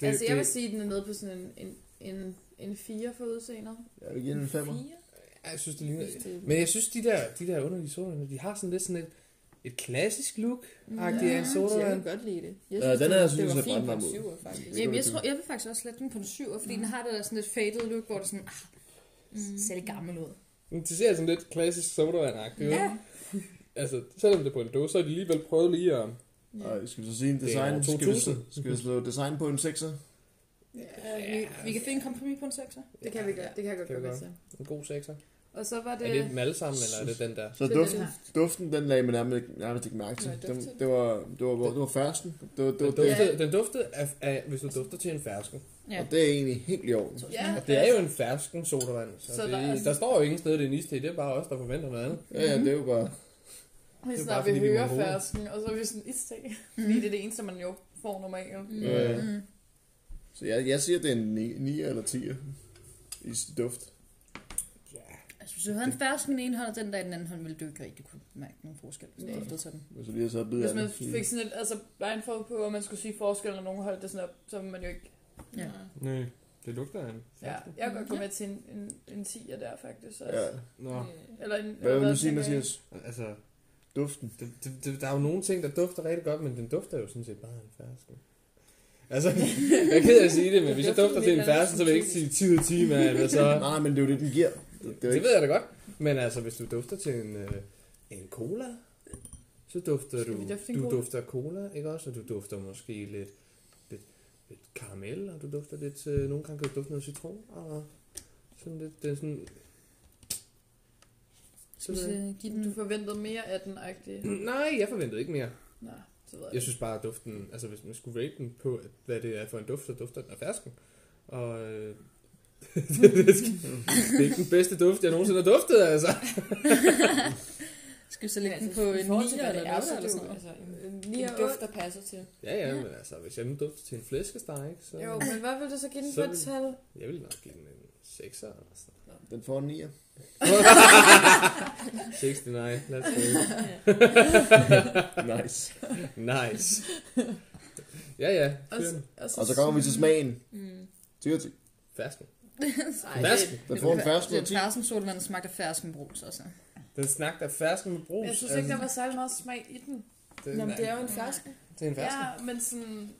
Speaker 2: Det,
Speaker 1: altså, jeg
Speaker 2: det,
Speaker 1: vil sige, at den er nede på sådan en, en, en, en 4 for udseendet.
Speaker 3: jeg vil give den en femmer.
Speaker 2: Ja, jeg synes, det ligner... Men jeg synes, de der, de der underlige sodavand, de har sådan lidt sådan et, et klassisk look agtigt af en
Speaker 4: jeg
Speaker 2: sodavand.
Speaker 4: kan godt lide det. Jeg
Speaker 3: Ja, den er, jeg synes,
Speaker 4: det var
Speaker 3: jeg
Speaker 4: fint
Speaker 3: brændte mig
Speaker 4: på en
Speaker 3: mod.
Speaker 4: syver, faktisk.
Speaker 12: Jamen, jeg, tror, jeg vil faktisk også lette den på en 7, fordi den har det der sådan lidt faded look, hvor det sådan, ah, ser lidt gammel ud.
Speaker 2: Men Det ser sådan lidt klassisk sodavand ja. Altså, selvom det er på en dåse, så har de alligevel prøvet lige at...
Speaker 3: Og skal vi så sige en
Speaker 2: Det er
Speaker 3: design?
Speaker 2: over
Speaker 3: Skal vi,
Speaker 2: 2000.
Speaker 3: så- skal vi slå design på en 6'er?
Speaker 12: Ja, vi, vi kan finde en kompromis på en sekser.
Speaker 4: Det kan vi godt. Det kan jeg godt
Speaker 2: Kan
Speaker 4: gå
Speaker 2: vi
Speaker 4: med
Speaker 2: godt.
Speaker 4: til.
Speaker 2: En god sekser.
Speaker 12: Og så var det...
Speaker 2: Er det dem alle sammen, eller er det den der?
Speaker 3: Så
Speaker 4: Det er
Speaker 3: duften,
Speaker 4: den
Speaker 3: duften, den lagde man nærmest, ikke- nærmest ikke mærke til.
Speaker 4: Nej,
Speaker 3: Den,
Speaker 4: duften.
Speaker 3: det var, det var, hvor- det var førsten. Det var, det var
Speaker 2: Den
Speaker 3: det.
Speaker 2: duftede, den duftede af, af, hvis du dufter til en fersken.
Speaker 12: Ja.
Speaker 3: Og det er egentlig helt i orden.
Speaker 12: Ja,
Speaker 2: Og det er jo en fersken sodavand, så,
Speaker 12: Så
Speaker 2: så
Speaker 12: der er
Speaker 2: det,
Speaker 12: sådan-
Speaker 2: der står jo ingen sted, det er en iste. Det er bare os, der forventer noget andet.
Speaker 3: Ja, ja, det er jo bare...
Speaker 1: Lige
Speaker 2: Det er
Speaker 1: snart
Speaker 2: bare,
Speaker 1: vi
Speaker 2: fordi de er
Speaker 1: hører
Speaker 2: mongoler.
Speaker 1: fersken, og så er vi sådan iste.
Speaker 12: Mhm.
Speaker 1: Fordi det er det eneste, man jo får normalt.
Speaker 12: Mm.
Speaker 3: Ja, ja.
Speaker 12: Mm.
Speaker 3: Så jeg, jeg siger, det er en 9 eller 10 i s- duft.
Speaker 12: Altså, hvis du havde en fersken i den ene hånd, og den der i den anden hånd, ville du ikke rigtig kunne mærke nogen forskel, hvis du
Speaker 1: Nej.
Speaker 12: duftede til den.
Speaker 3: Hvis du lige har taget bid af
Speaker 1: Hvis man
Speaker 3: den.
Speaker 1: fik sådan et, altså, blindfold på, og man skulle sige forskel, og nogen holdt det sådan op, så ville man jo ikke...
Speaker 12: Ja.
Speaker 2: Nej, det lugter af en
Speaker 1: Ja, jeg kan godt gå med til en, en, en 10'er der, faktisk.
Speaker 3: Ja.
Speaker 1: Altså.
Speaker 2: Nå,
Speaker 1: Eller en,
Speaker 3: Hvad vil
Speaker 1: eller
Speaker 3: du sige,
Speaker 1: tænker jeg?
Speaker 3: Mathias?
Speaker 2: altså,
Speaker 3: Duften.
Speaker 2: det, det, det, der er jo nogle ting, der dufter rigtig godt, men den dufter jo sådan set bare af en fersken. Altså, jeg er ked af at sige det, men hvis jeg dufter til en fersken, så vil jeg ikke sige 10 ud af 10, men altså,
Speaker 3: Nej, men det er jo det, den giver. Det, det er jo
Speaker 2: Det
Speaker 3: ikke...
Speaker 2: ved jeg da godt. Men altså, hvis du dufter til en, øh, en cola, så dufter
Speaker 1: Skal vi
Speaker 2: du...
Speaker 1: dufte en
Speaker 2: du
Speaker 1: cola?
Speaker 2: dufter cola, ikke også? Og du dufter måske lidt, lidt, lidt karamel, og du dufter lidt... Øh, nogle gange kan du dufte noget citron, og sådan lidt... Det er sådan... Så
Speaker 12: Skal vi
Speaker 2: ved jeg.
Speaker 12: øh, give den...
Speaker 1: Du forventede mere af den, agtig.
Speaker 2: Nej, jeg forventede ikke mere.
Speaker 1: Nej, så ved jeg
Speaker 2: Mm. Jeg
Speaker 1: ikke.
Speaker 2: synes bare, at duften... Altså, hvis man skulle rate den på, at, hvad det er for en duft, så dufter den af fersken. Og... Øh, det, er ikke- det er ikke den bedste duft, jeg nogensinde har duftet, altså.
Speaker 12: Skal altså, vi så lægge den på en 9 eller en 8 eller sådan noget?
Speaker 4: Altså, en,
Speaker 1: En
Speaker 4: en
Speaker 1: nier og
Speaker 4: duft, der passer til.
Speaker 2: Ja, ja, men altså, hvis jeg nu dufter til en flæskesteg, ikke, så...
Speaker 1: Jo, men hvad vil du så give den
Speaker 2: Så
Speaker 1: for et
Speaker 2: vil-
Speaker 1: tal?
Speaker 2: Jeg vil nok give den en altså. 6'er eller sådan
Speaker 3: Den får en 9'er.
Speaker 2: 69, let's go.
Speaker 3: Nice.
Speaker 2: Nice. Ja, ja,
Speaker 1: Og,
Speaker 2: fyren.
Speaker 3: Og så kommer vi til smagen.
Speaker 4: Mm.
Speaker 3: 10 og 10.
Speaker 2: Fersken.
Speaker 4: Ej, det,
Speaker 2: Fersken.
Speaker 3: Den får en første
Speaker 12: Det
Speaker 3: og
Speaker 12: er
Speaker 3: 10.
Speaker 12: fersken solvand, der smagte af ferskenbrus også.
Speaker 2: Den snagte af fersken med brus. Altså,
Speaker 1: Jeg synes ikke, der var særlig meget smag i den.
Speaker 2: den,
Speaker 4: jamen, det er jo en fersken.
Speaker 2: det er en fersken.
Speaker 1: Ja, men sådan...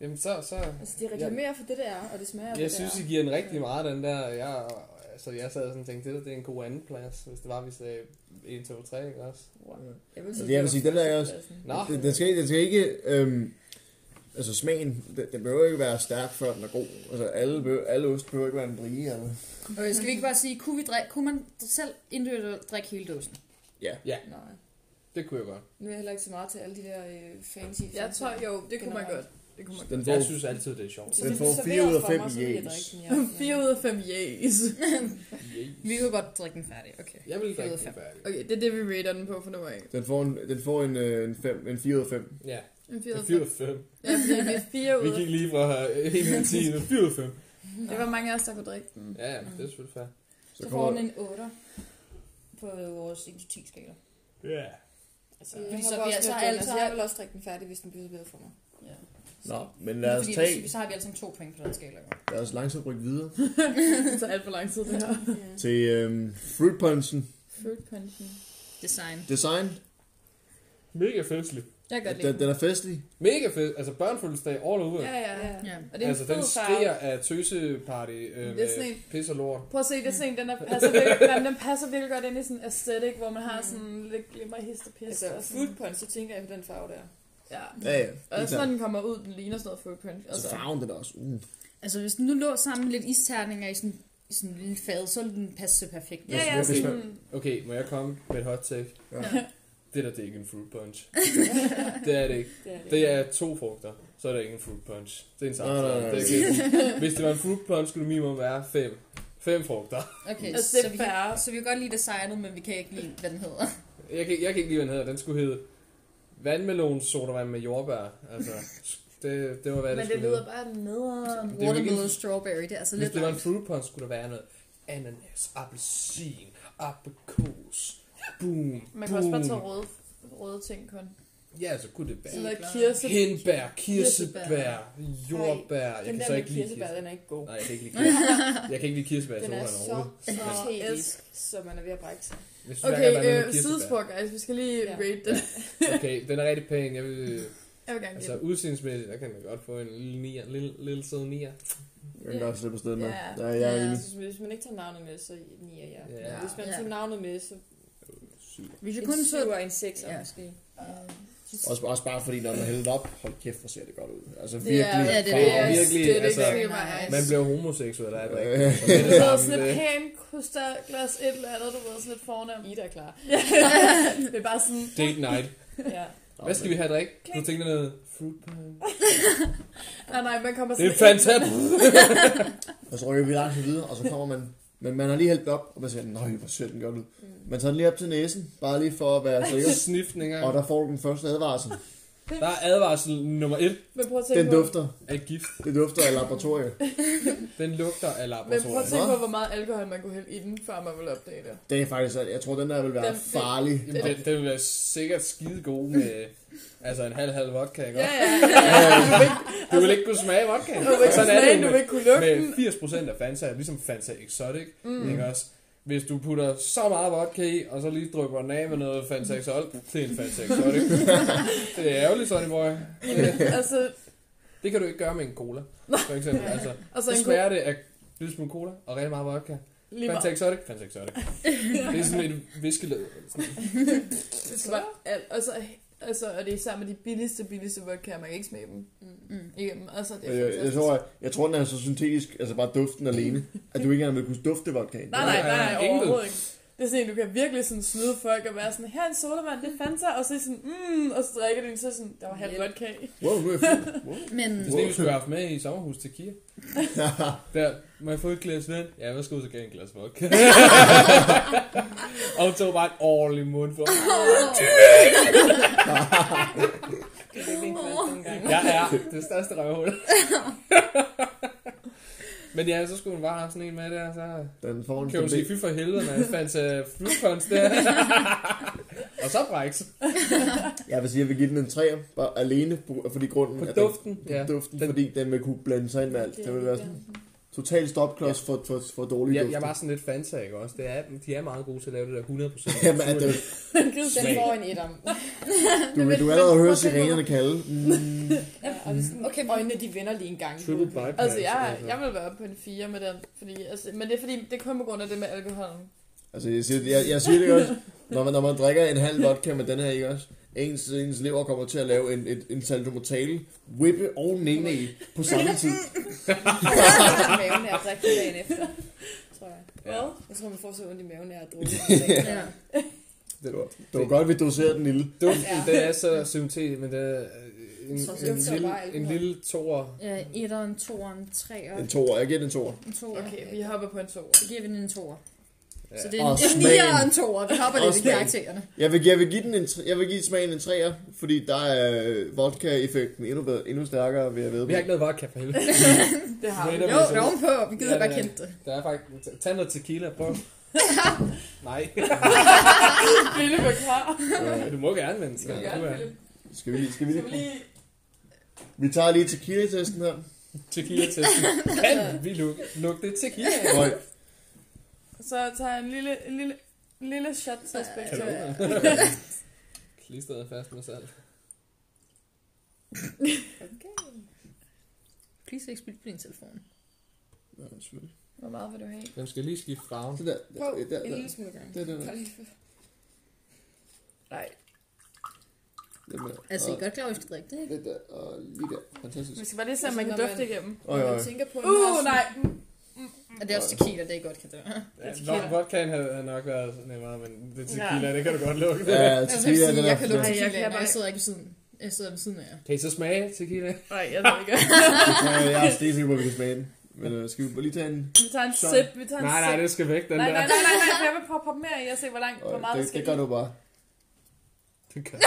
Speaker 2: Jamen, så, så...
Speaker 4: Altså, de reklamerer for det, der er, og det smager af
Speaker 2: Jeg
Speaker 4: det,
Speaker 2: synes,
Speaker 4: der
Speaker 2: I giver den rigtig meget, den der... Jeg, altså, jeg sad sådan og tænkte, det, der, det er en god anden plads, hvis det var, vi sagde 1, 2, 3, ikke også?
Speaker 4: Jeg vil
Speaker 3: Altså, jeg vil sige, den der er også-
Speaker 2: Nå,
Speaker 3: Den, den, skal, den skal ikke... Øhm, altså smagen, den, den behøver ikke være stærk, før den er god. Altså alle, behøver, alle ost behøver ikke være en brie. Eller.
Speaker 12: Okay, skal vi ikke bare sige, kunne, vi drikke, kunne man selv individuelt drikke hele dåsen?
Speaker 4: Nej.
Speaker 2: det kunne jeg godt.
Speaker 4: Nu er jeg heller ikke så meget til alle de der øh, fancy...
Speaker 1: Jeg tror jo, det kunne man godt. Det kunne man godt.
Speaker 3: Den får,
Speaker 2: Jeg synes altid, det er sjovt.
Speaker 3: den får 4 ud af 5 i A's.
Speaker 1: 4 ud af 5 yes.
Speaker 12: Vi kunne godt drikke den færdig, okay.
Speaker 2: Jeg vil
Speaker 12: Fire ud
Speaker 2: drikke
Speaker 12: af
Speaker 2: den
Speaker 12: fem.
Speaker 2: færdig.
Speaker 1: Okay, det er det, vi rater den på for nu af.
Speaker 3: Den får en, den får en, øh, en, fem, en 4 ud af 5.
Speaker 2: Ja,
Speaker 1: En 4 ud af
Speaker 2: 4
Speaker 1: 5.
Speaker 2: ud af 5.
Speaker 1: Ja, fordi vi er 4 ud
Speaker 2: Vi
Speaker 1: af
Speaker 2: gik lige fra øh, 1 ud af 10 til 4 ud af 5.
Speaker 1: Det var mange af os, der kunne drikke den.
Speaker 2: Ja, ja, det er selvfølgelig fair.
Speaker 3: Så
Speaker 12: Så får
Speaker 3: kommer
Speaker 12: den en 8 på vores 1-10 skala.
Speaker 2: Ja.
Speaker 12: Altså,
Speaker 4: Jeg
Speaker 12: så, vi, så,
Speaker 4: så
Speaker 12: har alle,
Speaker 4: altså,
Speaker 12: så,
Speaker 4: jeg
Speaker 12: har,
Speaker 4: vil også drikke den færdig, hvis den bliver så bedre for mig.
Speaker 1: Ja.
Speaker 3: Nå, men lad os,
Speaker 12: fordi,
Speaker 3: tage,
Speaker 12: så, så har vi alle sammen to point på den skala. jo.
Speaker 3: lad os langsomt rykke videre
Speaker 1: Det tager alt for lang tid, det her.
Speaker 3: til øhm, fruit punchen.
Speaker 1: Fruit punchen.
Speaker 12: Design.
Speaker 3: Design,
Speaker 2: Mega festlig.
Speaker 1: Jeg kan godt
Speaker 3: den,
Speaker 1: lide den.
Speaker 3: den er festlig.
Speaker 2: Mega fest. Altså børnefødselsdag all over.
Speaker 1: Ja, ja.
Speaker 12: Ja.
Speaker 1: Og det er en
Speaker 2: altså, den
Speaker 1: fed farve.
Speaker 2: skriger af tøseparty øh,
Speaker 1: Det er sådan
Speaker 2: med
Speaker 1: en-
Speaker 2: pis og lort.
Speaker 1: Prøv at se, det er sådan en, den, er, passer virkelig, jamen, den passer virkelig godt ind i sådan en aesthetic, hvor man
Speaker 12: Mm.
Speaker 1: har sådan lidt glimmer, hist og pis.
Speaker 4: Altså,
Speaker 1: og sådan-
Speaker 4: food punch, så tænker jeg på den farve der.
Speaker 1: Ja.
Speaker 3: Ja,
Speaker 1: Og
Speaker 3: ja. helt
Speaker 1: også når
Speaker 3: klart.
Speaker 1: den kommer ud, den ligner sådan noget fruit punch.
Speaker 3: Så
Speaker 1: Altså,
Speaker 3: farven den er også. Uh.
Speaker 12: Altså, hvis den nu lå sammen med lidt isterninger i sådan, i sådan en lille fad, så ville den passe så perfekt.
Speaker 1: ja, ja,
Speaker 3: Hvis- hvis
Speaker 1: sådan,
Speaker 2: Okay, må jeg komme med et hot take?
Speaker 3: Ja.
Speaker 2: Det der, det er ikke en fruit punch. det er det ikke. Det er to frugter, så er det ikke en fruit punch. Det er en
Speaker 3: Nej, nej,
Speaker 2: samtale.
Speaker 3: nej.
Speaker 2: Det er ikke- Hvis det var en fruit punch, skulle det minimum være fem. Fem frugter.
Speaker 12: Okay,
Speaker 1: Altså, det
Speaker 12: så,
Speaker 1: er
Speaker 12: vi
Speaker 1: fair.
Speaker 12: kan, så vi kan godt lide designet, men vi kan ikke lide, hvad den hedder.
Speaker 2: Jeg kan, jeg kan ikke lide, hvad den hedder. Den skulle hedde vandmelon sodavand med jordbær. Altså, det, det var, hvad
Speaker 1: men
Speaker 2: det
Speaker 1: det
Speaker 2: skulle
Speaker 1: lyder
Speaker 2: hedde.
Speaker 1: bare nederen.
Speaker 2: Det er jo ikke en-
Speaker 12: Watermelon strawberry, det er altså
Speaker 2: Hvis
Speaker 12: lidt
Speaker 2: det var en
Speaker 12: langt.
Speaker 2: fruit punch, skulle der være noget ananas, appelsin, aprikos, boom,
Speaker 1: Man kan også bare tage
Speaker 2: boom.
Speaker 1: røde, røde ting kun.
Speaker 2: Ja, så kunne det
Speaker 1: Sådan
Speaker 2: være.
Speaker 1: noget
Speaker 12: Æbler.
Speaker 1: kirse.
Speaker 2: Hindbær, kirsebær,
Speaker 12: Kirsebær.
Speaker 2: jordbær. Jeg
Speaker 4: Den
Speaker 2: kan
Speaker 4: der
Speaker 2: så
Speaker 4: med
Speaker 2: ikke lide
Speaker 4: kirsebær,
Speaker 2: kirsebær.
Speaker 4: den er ikke god.
Speaker 2: Nej, jeg kan ikke lide kirsebær. Jeg kan ikke lide kirsebær i
Speaker 4: Den er
Speaker 2: sodaen
Speaker 4: så
Speaker 2: overhovedet.
Speaker 4: strategisk, så man er ved at brække sig.
Speaker 2: Jeg synes, hver
Speaker 1: Okay,
Speaker 2: gang der er noget
Speaker 1: øh,
Speaker 2: med kirsebær-
Speaker 1: sidespor, guys. Vi skal lige
Speaker 4: Ja.
Speaker 1: rate den.
Speaker 2: Okay, den er rigtig pæn. Jeg vil,
Speaker 1: Jeg vil gerne give
Speaker 2: altså
Speaker 1: den.
Speaker 2: udseendsmæssigt, der kan man godt få en lille nier, lille, lille sød nier.
Speaker 1: Altså-
Speaker 3: Den kan også slippe afsted med.
Speaker 1: Ja.
Speaker 3: Ja, jeg er
Speaker 12: Ja.
Speaker 3: enig.
Speaker 4: Altså, hvis man ikke tager navnet med, så nier jeg.
Speaker 2: Ja.
Speaker 4: Hvis man
Speaker 12: Ja.
Speaker 4: tager navnet med, så
Speaker 12: Hvis jeg
Speaker 4: en
Speaker 12: kun så...
Speaker 4: syver og en sekser
Speaker 12: Ja.
Speaker 4: måske.
Speaker 1: Øh,
Speaker 4: Så
Speaker 3: Også, også bare fordi, når man hælder det op, hold kæft, hvor ser det godt ud. Altså
Speaker 12: Det er-
Speaker 3: virkelig.
Speaker 12: ja, det er
Speaker 3: farver.
Speaker 2: det. virkelig,
Speaker 1: det er det
Speaker 2: altså,
Speaker 1: ikke lige mig.
Speaker 2: Man bliver homoseksuel, er det ikke?
Speaker 3: Øh.
Speaker 2: Så med det
Speaker 1: Du ved,
Speaker 2: samme,
Speaker 1: sådan et
Speaker 2: det-
Speaker 1: pænt krystalglas, et eller andet, du ved, sådan et fornem.
Speaker 5: Ida er klar. det er bare sådan,
Speaker 2: Date night.
Speaker 5: ja.
Speaker 2: Hvad skal vi have at drikke? Du tænker noget fruit pie.
Speaker 1: Nej, nej, man kommer
Speaker 2: Det
Speaker 1: sådan
Speaker 2: er fantastisk.
Speaker 3: Og så rykker vi langt videre, og så kommer man... Men man har lige hældt det op, og man siger, nej, hvor ser den godt ud.
Speaker 1: Mm.
Speaker 3: Man tager den lige op til næsen, bare lige for at være sikker.
Speaker 2: Snift en gang.
Speaker 3: Og der får du den første advarsel.
Speaker 2: Der er advarsel nummer et
Speaker 1: Men prøv at tænke
Speaker 3: Den
Speaker 1: på,
Speaker 3: dufter.
Speaker 2: af gift.
Speaker 3: Det dufter af laboratorium.
Speaker 2: Den lugter af
Speaker 1: men prøv at
Speaker 2: laboratoriet.
Speaker 1: tænke på, hvor meget alkohol man kunne hælde i den, før man ville opdage det.
Speaker 3: Det er faktisk, at jeg tror, den der vil være
Speaker 1: Den-
Speaker 3: farlig.
Speaker 2: Jamen, Den, den vil være sikkert skide god med altså en halv-halv vodka, ikke?
Speaker 1: Ja,
Speaker 2: også?
Speaker 1: ja, ja.
Speaker 2: Du vil ikke kunne smage vodka.
Speaker 1: Du vil ikke
Speaker 2: Sådan er
Speaker 1: smage, du
Speaker 2: det jo
Speaker 1: vil
Speaker 2: med-
Speaker 1: ikke kunne lugte den.
Speaker 2: med 80% af Fanta, ligesom Fanta Exotic, mm. ikke også? Hvis du putter så meget vodka i, og så lige drypper den af med noget Fanta Exotic, det er en Fanta Exotic. det er ærgerligt, Sonny Boy.
Speaker 1: Altså,
Speaker 2: Det kan du ikke gøre med en cola, for eksempel. Altså,
Speaker 1: altså
Speaker 2: så
Speaker 1: en god...
Speaker 2: smager det af lidt smule cola og rigtig meget vodka.
Speaker 1: Lige
Speaker 2: Fanta
Speaker 1: meget.
Speaker 2: Exotic, Fanta Exotic. Det er sådan et viskelød.
Speaker 1: Det skal bare alt. Og så, altså, og det er især med de billigste, billigste vodka, man kan ikke smage dem
Speaker 12: Mm.
Speaker 1: igennem. Altså, det er
Speaker 3: Jeg, jeg,
Speaker 1: fantastisk.
Speaker 3: tror, jeg, jeg tror, den er så syntetisk, altså bare duften alene, at du ikke engang vil kunne dufte vodkaen.
Speaker 1: Nej, nej, nej, nej,
Speaker 2: Ingen ved.
Speaker 1: overhovedet ikke. Det er sådan en, du kan virkelig sådan snyde folk og være sådan, her er en sodavand, det fandt sig, og så er I sådan, mm, og så drikker de, den, så er sådan, der var halv
Speaker 12: Hjælp.
Speaker 1: vodka i.
Speaker 3: Wow, nu er jeg fuld.
Speaker 12: Men
Speaker 2: Det er sådan, en, vi skulle have haft med i sommerhus til Kia. Der, må jeg få et glas vand? Ja, værsgo, så gav jeg en glas vodka. og hun tog bare et ordentligt mundfuld.
Speaker 4: Det er ikke en kvart nogle gange.
Speaker 2: Jeg er det største røvhul. Men ja, så skulle hun bare have sådan en med der, så
Speaker 3: Den får en
Speaker 2: kan hun sige, fy for helvede, man fandt uh, flugkons der. og så bræks.
Speaker 3: Jeg vil sige, jeg vil give den en 3, bare alene, på- fordi grunden
Speaker 2: På
Speaker 3: at
Speaker 2: duften.
Speaker 3: Den,
Speaker 2: Ja.
Speaker 3: ja, duften,
Speaker 2: Den-
Speaker 3: fordi den vil kunne blande sig ind med alt. Det vil være sådan total stopklods for, for, for dårlig
Speaker 2: Jeg,
Speaker 3: duft.
Speaker 2: jeg var sådan lidt Fanta, ikke også? Det er, de er meget gode til at lave det der 100%.
Speaker 3: Jamen, at du,
Speaker 4: Den får en etter.
Speaker 3: du, du, du allerede hører sirenerne kalde. Mm.
Speaker 4: Og det er sådan, okay, øjnene de vender lige en gang.
Speaker 2: Triple bypass.
Speaker 1: Altså, jeg, jeg vil være oppe på en 4 med den, fordi, altså, men det er fordi, det er kun på grund af det med alkoholen.
Speaker 3: Altså, jeg siger, jeg, jeg siger det også, når man, når man drikker en halv vodka med den her, ikke også? Ens, ens lever kommer til at lave en, en, en salto mortale, whippe og nene i på samme tid.
Speaker 4: i maven af at drikke det dagen efter. Tror jeg.
Speaker 2: Ja.
Speaker 4: Jeg tror, man får så ondt i maven af at drukke.
Speaker 12: ja.
Speaker 3: Det var, det var godt, vi doserede den lille.
Speaker 2: Duften, den er så syntetisk, men det er øh, en,
Speaker 12: Så
Speaker 2: en, en,
Speaker 12: dufter
Speaker 2: lille,
Speaker 4: bare alkohol.
Speaker 2: en lille toer.
Speaker 12: ja. Etteren, toeren, treeren,
Speaker 3: En toer. Jeg giver den en toer.
Speaker 12: en toer.
Speaker 1: Okay, vi hopper på en 2.
Speaker 12: Så giver vi den en toer.
Speaker 2: Ja.
Speaker 12: Så det er
Speaker 3: Og
Speaker 12: en, en
Speaker 3: smagen.
Speaker 12: nier og en toer. Vi hopper
Speaker 3: Og
Speaker 12: lidt i
Speaker 3: smagen.
Speaker 12: karaktererne.
Speaker 3: Jeg vil, jeg vil give den en, tre- jeg vil give smagen en træer, fordi der er vodka-effekten endnu, bedre, endnu stærkere ved at ved.
Speaker 2: Vi har ikke noget vodka for helvede.
Speaker 1: Det har vi.
Speaker 2: Wait a
Speaker 12: Jo,
Speaker 2: minute.
Speaker 12: ovenpå. Vi gider
Speaker 2: Ja,
Speaker 12: bare
Speaker 2: det er-
Speaker 12: kendt det.
Speaker 2: Der er faktisk... Tag noget tequila, prøv. Nej.
Speaker 1: Philip er klar.
Speaker 2: Du må gerne, men skal
Speaker 1: Ja,
Speaker 2: du have.
Speaker 1: Philip.
Speaker 3: Skal vi lige, skal vi
Speaker 1: Skal vi
Speaker 3: lige?
Speaker 1: lige...
Speaker 3: Vi tager lige tequila-testen her.
Speaker 2: Tequila-testen. Kan vi lugte lugte tequila?
Speaker 3: Og
Speaker 1: Så tager jeg en lille, en lille, en lille shot til aspekt.
Speaker 2: Klisteret fast med salt.
Speaker 12: Please ikke spille på din telefon.
Speaker 3: Ja, selvfølgelig.
Speaker 1: Hvor meget vil du have?
Speaker 2: Den skal lige skifte farven.
Speaker 3: Så der,
Speaker 4: Prøv
Speaker 3: der, der,
Speaker 4: en
Speaker 3: der.
Speaker 4: lille smule gang.
Speaker 3: Det er det, der.
Speaker 1: Nej.
Speaker 3: Den der.
Speaker 12: Altså, I
Speaker 3: Og
Speaker 12: er godt klar, at I skal drikke det, ikke?
Speaker 3: den der, og lige der. Fantastisk.
Speaker 1: Vi skal bare lige se, om man kan dufte igennem.
Speaker 3: Øj, øj.
Speaker 4: Jeg tænker på, at den
Speaker 1: Uh,
Speaker 4: har
Speaker 1: nej.
Speaker 12: Og det er også tequila, det er I godt kan døre.
Speaker 2: Ja,
Speaker 1: tequila.
Speaker 2: nok- vodkaen havde havde nok været nemmere, men det tequila, det kan du godt lugte.
Speaker 3: Ja,
Speaker 12: Jeg, vil
Speaker 3: tequila,
Speaker 12: sige,
Speaker 3: den
Speaker 12: jeg kan
Speaker 3: er...
Speaker 12: lukke
Speaker 1: Ej, jeg
Speaker 12: tequila,
Speaker 1: kan
Speaker 12: jeg, jeg
Speaker 1: bare-
Speaker 12: sidder ikke ved siden. Jeg sidder ved siden af jer.
Speaker 2: Kan I så smage tequila?
Speaker 1: Nej, jeg ved ikke.
Speaker 3: Ja, Jeg er stedet sikker på, at vi kan smage den. Men øh, skal vi bare lige tage en...
Speaker 1: Vi tager en
Speaker 3: Så-
Speaker 1: sip. Vi tager en
Speaker 2: Nej,
Speaker 1: sip.
Speaker 2: nej, det skal væk, den
Speaker 1: nej, nej,
Speaker 2: der.
Speaker 1: nej, nej, nej, for jeg vil prøve at poppe mere i og se, hvor langt,
Speaker 3: Øj,
Speaker 1: hvor meget
Speaker 3: det,
Speaker 1: det skal
Speaker 3: det gør
Speaker 1: i.
Speaker 3: du bare.
Speaker 2: Det kan-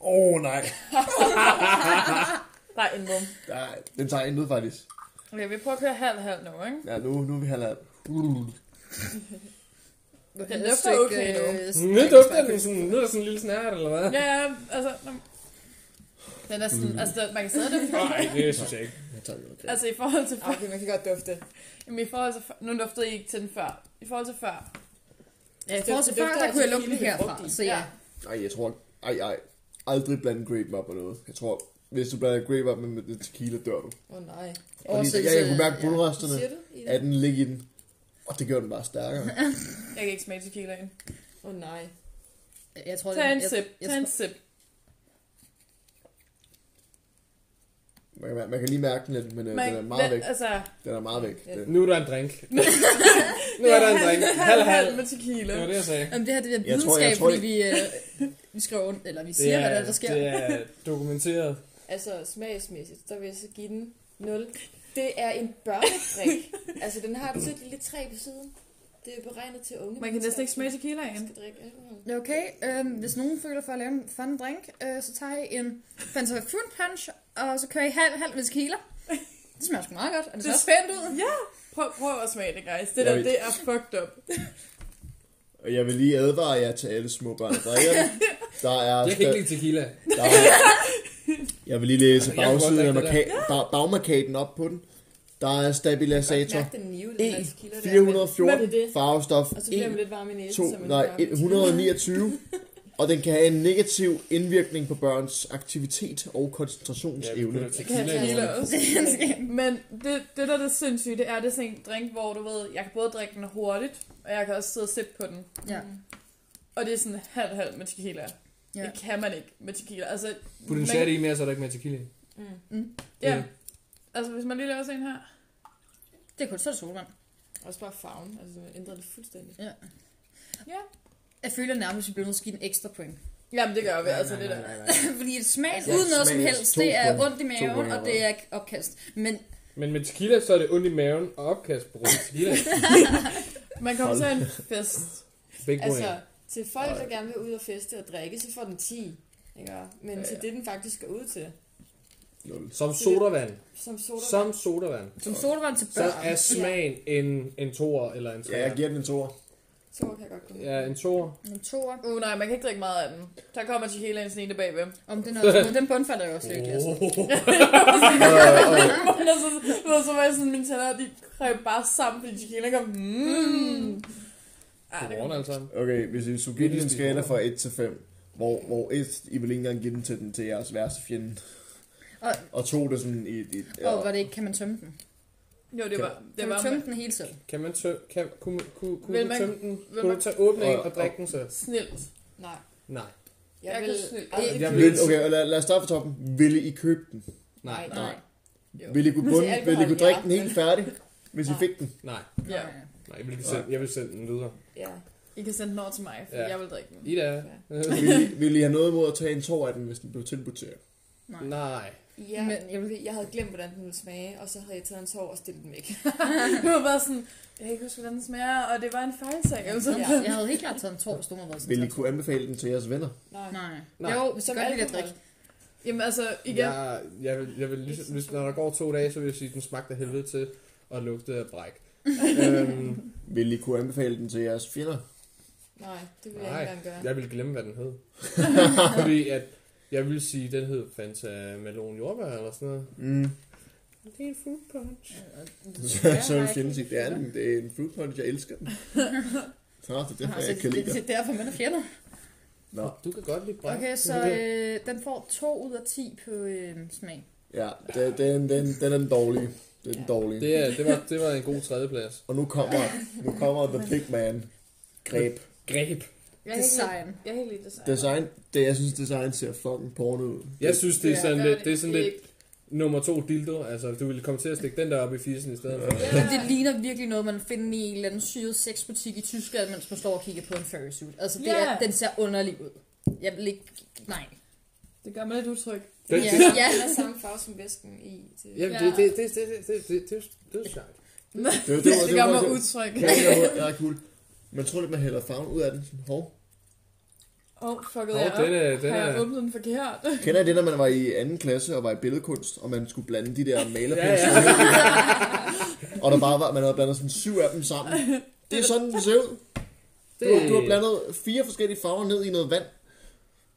Speaker 3: Åh, oh, nej.
Speaker 1: Nej, en mum.
Speaker 3: Nej, Den tager en ud, faktisk.
Speaker 1: Okay, vi prøver at køre halv-halv nu, ikke?
Speaker 3: Ja, nu, nu er vi halvt.
Speaker 1: Den lugter okay nu.
Speaker 2: Nu dufter den sådan, nu er der sådan en lille snært, eller hvad?
Speaker 1: Ja, ja, altså... nå- Den er sådan, altså, den- man kan sidde det
Speaker 2: Nej, det synes jeg ikke.
Speaker 3: Jeg tager den, okay.
Speaker 1: Altså, i forhold til før...
Speaker 4: Okay, man kan godt dufte.
Speaker 1: Jamen, i forhold til før... Nu duftede I ikke til den før. I forhold til før.
Speaker 12: Ja, i forhold til før, der kunne jeg lukke den herfra, så ja.
Speaker 3: Ej, jeg tror... Ej, ej. Aldrig blande grape op med noget. Jeg tror, hvis du blander grape op med, med lidt tequila, dør du.
Speaker 4: Åh oh, nej.
Speaker 3: Fordi
Speaker 12: Oversættelse,
Speaker 3: jeg, jeg kunne mærke
Speaker 12: ja.
Speaker 3: bulresterne
Speaker 4: Siger du? Ida?
Speaker 3: af den ligge i den. Og det gjorde den bare stærkere.
Speaker 1: Jeg kan ikke smage tequilaen.
Speaker 4: Åh oh, nej.
Speaker 12: Jeg tror, det
Speaker 1: Tag
Speaker 12: er-
Speaker 1: en
Speaker 12: jeg-
Speaker 1: sip.
Speaker 12: jeg
Speaker 1: Tag en
Speaker 12: tror-
Speaker 1: sip.
Speaker 3: Man kan, man kan lige mærke den lidt, men øh, den er
Speaker 1: Man,
Speaker 3: meget væk.
Speaker 1: altså,
Speaker 3: Den er meget væk.
Speaker 4: Ja.
Speaker 3: Den.
Speaker 2: Nu er der en drink. nu er der en drink. Halv, halv.
Speaker 1: med tequila.
Speaker 2: Det var det, jeg sagde.
Speaker 12: Jamen, det her det er
Speaker 3: Jeg tror-
Speaker 12: videnskab,
Speaker 3: jeg tror
Speaker 12: fordi vi, øh, vi skriver, under- eller vi siger, hvad der, er, der sker.
Speaker 2: Det er dokumenteret.
Speaker 4: Altså smagsmæssigt, der vil jeg så give den 0. Det er en børnedrik. altså den har et sødt lille træ på siden. Det er beregnet til unge.
Speaker 1: Man kan næsten ikke smage
Speaker 4: til
Speaker 1: tequilaen.
Speaker 4: skal drikke alkohol.
Speaker 12: Okay, øh, hvis nogen føler for at lave en fun drink, øh, så tager I en Fanta Fruit Punch, og så kører I halv, halv med tequila. Det smager sgu meget godt, og det ser
Speaker 1: Det-
Speaker 12: også pænt ud.
Speaker 1: Ja, prøv, prøv at smage det, guys. Det
Speaker 3: Jeg
Speaker 1: der,
Speaker 3: ved-
Speaker 1: det er fucked up.
Speaker 3: Og jeg vil lige advare jer til alle små børn, der drikker den. Der er,
Speaker 2: Jeg kan ikke lide tequila.
Speaker 3: der er, jeg vil lige læse
Speaker 2: Jeg kan godt
Speaker 3: bagsiden af
Speaker 2: drikke det
Speaker 3: marka- bag, bagmarkaten op på den. Der er stabilisator
Speaker 4: Mærk den nive, den her tequila der.
Speaker 1: Hvad er
Speaker 3: E414
Speaker 1: det?
Speaker 3: farvestof
Speaker 4: Og så bliver man
Speaker 3: 1,
Speaker 4: lidt varm i næsen,
Speaker 3: 2,
Speaker 4: som en
Speaker 3: nej,
Speaker 4: varm tequila.
Speaker 3: 129. Og den kan have en negativ indvirkning på børns aktivitet og koncentrationsevne.
Speaker 2: putter
Speaker 1: Det kan have
Speaker 2: i
Speaker 1: tequila
Speaker 2: munden.
Speaker 1: også. Men det, det der er det sindssyge, det er, det er sådan en drink, hvor du ved, jeg kan både drikke den hurtigt, og jeg kan også sidde og sippe på den.
Speaker 12: Ja.
Speaker 4: Mm.
Speaker 1: Og det er sådan halv-halv med tequila.
Speaker 12: Ja.
Speaker 1: Ja. Det kan man ikke med tequila. Altså,
Speaker 2: Put en
Speaker 1: man-
Speaker 2: chat i mere, så er der ikke mere tequila. i.
Speaker 4: Mm.
Speaker 1: Ja. Altså, hvis man lige laver sådan en her.
Speaker 12: Det er kun så solvand.
Speaker 4: Også bare farven, altså man ændrer det fuldstændig.
Speaker 12: Ja.
Speaker 1: Ja.
Speaker 12: Jeg føler nærmest, at vi bliver nødt til at give en ekstra point.
Speaker 1: Jamen, det gør vi altså, det der.
Speaker 12: Fordi et smag
Speaker 2: Altså,
Speaker 3: Ja,
Speaker 12: uden noget
Speaker 3: smag
Speaker 12: som
Speaker 3: er
Speaker 12: helst,
Speaker 3: to
Speaker 12: det er
Speaker 3: point.
Speaker 12: ondt i
Speaker 3: To point
Speaker 12: maven, og det er opkast. Men
Speaker 2: Men med tequila, så er det ondt i maven og opkast på grund af tequila.
Speaker 1: Man kommer til en fest.
Speaker 2: Big altså,
Speaker 4: Altså, til folk, der gerne vil ud og feste og drikke, så får den 10. Ikke? Men til det, den faktisk går ud til,
Speaker 2: Som sodavand.
Speaker 4: som soda.
Speaker 2: Som sodavand.
Speaker 12: som solvand til
Speaker 2: Så
Speaker 12: børn,
Speaker 2: er smagen en, en toer eller en
Speaker 3: Ja,
Speaker 2: treer.
Speaker 3: jeg giver den en toer.
Speaker 4: Så kan jeg godt gå
Speaker 2: Ja, en toer.
Speaker 12: en toer.
Speaker 1: Uh, nej, man kan ikke drikke meget af den. Der kommer tequilaen sådan en der bagved.
Speaker 12: Om den, er, den bundfalder jo også lidt. Altså.
Speaker 1: Men altså, du ved, så var jeg sådan, mine tænder, de kreb bare sammen, fordi tequilaen kom. Mm. Ej, det
Speaker 2: Godmorgen alle sammen.
Speaker 3: Okay, hvis I skulle give den en skala fra 1 til 5, hvor, hvor 1, I vil ikke engang give den til, den, til jeres værste fjende.
Speaker 12: Og-
Speaker 3: Og 2, det er sådan i... i
Speaker 12: Og hvor det ikke, kan man tømme den?
Speaker 1: Jo, det var,
Speaker 12: Kan
Speaker 1: det
Speaker 12: man
Speaker 1: var
Speaker 12: tømme den hele selv?
Speaker 2: Kan man tø... Kan, kunne, kunne, kunne
Speaker 1: Vil
Speaker 2: du
Speaker 1: man-
Speaker 2: tømme den?
Speaker 1: vil
Speaker 2: Kunne du
Speaker 1: man-
Speaker 2: tage åbne en
Speaker 3: Og-
Speaker 2: og drikke den så?
Speaker 1: snilt.
Speaker 4: Nej,
Speaker 2: Nej.
Speaker 4: jeg,
Speaker 1: Jeg
Speaker 4: vil...
Speaker 1: kan snyde.
Speaker 4: aldrig
Speaker 2: Jeg
Speaker 3: vil, okay, lad, lad os starte fra toppen. Ville I købe den?
Speaker 2: Nej.
Speaker 4: Nej.
Speaker 12: Nej.
Speaker 4: Jo.
Speaker 3: Ville I kunne,
Speaker 4: Men
Speaker 3: bunde,
Speaker 4: til alkohol,
Speaker 3: ville I kunne drikke
Speaker 4: ja.
Speaker 3: den helt færdig, hvis I
Speaker 4: Nej.
Speaker 3: fik den?
Speaker 2: Nej.
Speaker 1: Ja.
Speaker 12: Nej.
Speaker 2: Nej, jeg vil, ikke sende, jeg vil sende den videre.
Speaker 4: Ja.
Speaker 1: I kan sende den over til mig, for
Speaker 2: Ja.
Speaker 1: ja. jeg vil drikke den.
Speaker 2: Ida.
Speaker 3: Ville I, ville I have noget imod at tage en tår af den, hvis den blev tilbudt til jer?
Speaker 2: Nej.
Speaker 4: Ja,
Speaker 12: Men-
Speaker 4: men jeg, ville, jeg havde glemt, hvordan den ville smage, og så havde jeg taget en tår og stillet den væk.
Speaker 1: Nu var jeg bare sådan, jeg kan ikke huske, hvordan den smager, og det var en fejlsag. Altså.
Speaker 12: Ja.
Speaker 1: Ja.
Speaker 12: Jeg havde helt klart taget en tår, hvis nogen havde været
Speaker 3: Ville I
Speaker 12: sådan.
Speaker 3: kunne anbefale den til jeres venner?
Speaker 4: Nej.
Speaker 12: Nej.
Speaker 2: Nej.
Speaker 12: Jo, hvis du
Speaker 4: Som
Speaker 12: godt lide at
Speaker 4: alkohol.
Speaker 12: drikke.
Speaker 1: Jamen altså, igen, ja.
Speaker 2: Jeg, jeg vil, jeg vil ligesom, hvis, når der går to dage, så vil jeg sige, at den smagte af helvede til og lugtede af bræk. øhm,
Speaker 3: Ville I kunne anbefale den til jeres fjender?
Speaker 4: Nej, det ville jeg
Speaker 2: Nej.
Speaker 4: ikke engang gøre.
Speaker 2: jeg vil glemme, hvad den hed. Fordi at, jeg vil sige, at den hed Fanta Melon Jordbær eller sådan noget.
Speaker 3: Mm.
Speaker 2: Det er en fruit punch.
Speaker 3: Så,
Speaker 12: Ja,
Speaker 3: så vil
Speaker 12: nej.
Speaker 3: fjenden sige, det er, en, det er en fruit punch, jeg elsker den. Nå, det er derfor,
Speaker 12: Altså,
Speaker 3: jeg ikke kan lide
Speaker 12: det,
Speaker 3: den.
Speaker 12: det er derfor, man er fjender.
Speaker 3: Nå,
Speaker 2: Du kan godt lide bræk.
Speaker 12: Okay, så øh, den får 2 ud af 10 på øh, smag.
Speaker 3: Ja, det, det er en- den, den er den dårlige. Det er den dårlige.
Speaker 2: Det, er, det, var, det var en god tredjeplads.
Speaker 3: Og nu kommer, nu kommer The Big Man. Greb.
Speaker 2: Greb.
Speaker 1: Jeg kan
Speaker 12: Design.
Speaker 1: jeg er helt lidt design.
Speaker 3: Design, det, jeg synes, design ser fucking porno ud.
Speaker 2: Jeg synes, det er sådan
Speaker 1: gør
Speaker 2: lidt, det er sådan lidt
Speaker 1: ikke.
Speaker 2: nummer to dildo. Altså, du ville komme til at stikke den der op i fisen i stedet for.
Speaker 12: Men det ligner virkelig noget, man finder i en eller anden syret sexbutik i Tyskland, mens man står og kigger på en furry suit. Altså, det
Speaker 1: Ja.
Speaker 12: er, den ser underlig ud. Jeg vil ikke... Nej.
Speaker 1: Det gør mig lidt utryg.
Speaker 2: Den,
Speaker 12: Ja,
Speaker 2: det,
Speaker 12: ja.
Speaker 4: Den er samme farve som væsken i. Til...
Speaker 2: ja, det, det, det, det, det, det, det, det, det er sjovt.
Speaker 3: Det,
Speaker 1: Det, det gør mig
Speaker 3: det-
Speaker 1: utryg.
Speaker 3: Ja, det var- det er cool. Man tror lidt, man hælder farven ud af den. Sådan, Hov.
Speaker 1: Åh, oh, fucket
Speaker 2: Hov,
Speaker 1: jeg
Speaker 2: den er-
Speaker 1: op.
Speaker 2: den
Speaker 1: Har jeg
Speaker 2: er-
Speaker 1: åbnet den forkert?
Speaker 3: Kender I det, når man var i anden klasse og var i billedkunst, og man skulle blande de der malerpensler?
Speaker 2: Ja,
Speaker 3: Og der bare var, man havde blandet sådan syv af dem sammen. Det er sådan, det ser ud. Du,
Speaker 2: Det-
Speaker 3: du har blandet fire forskellige farver ned i noget vand.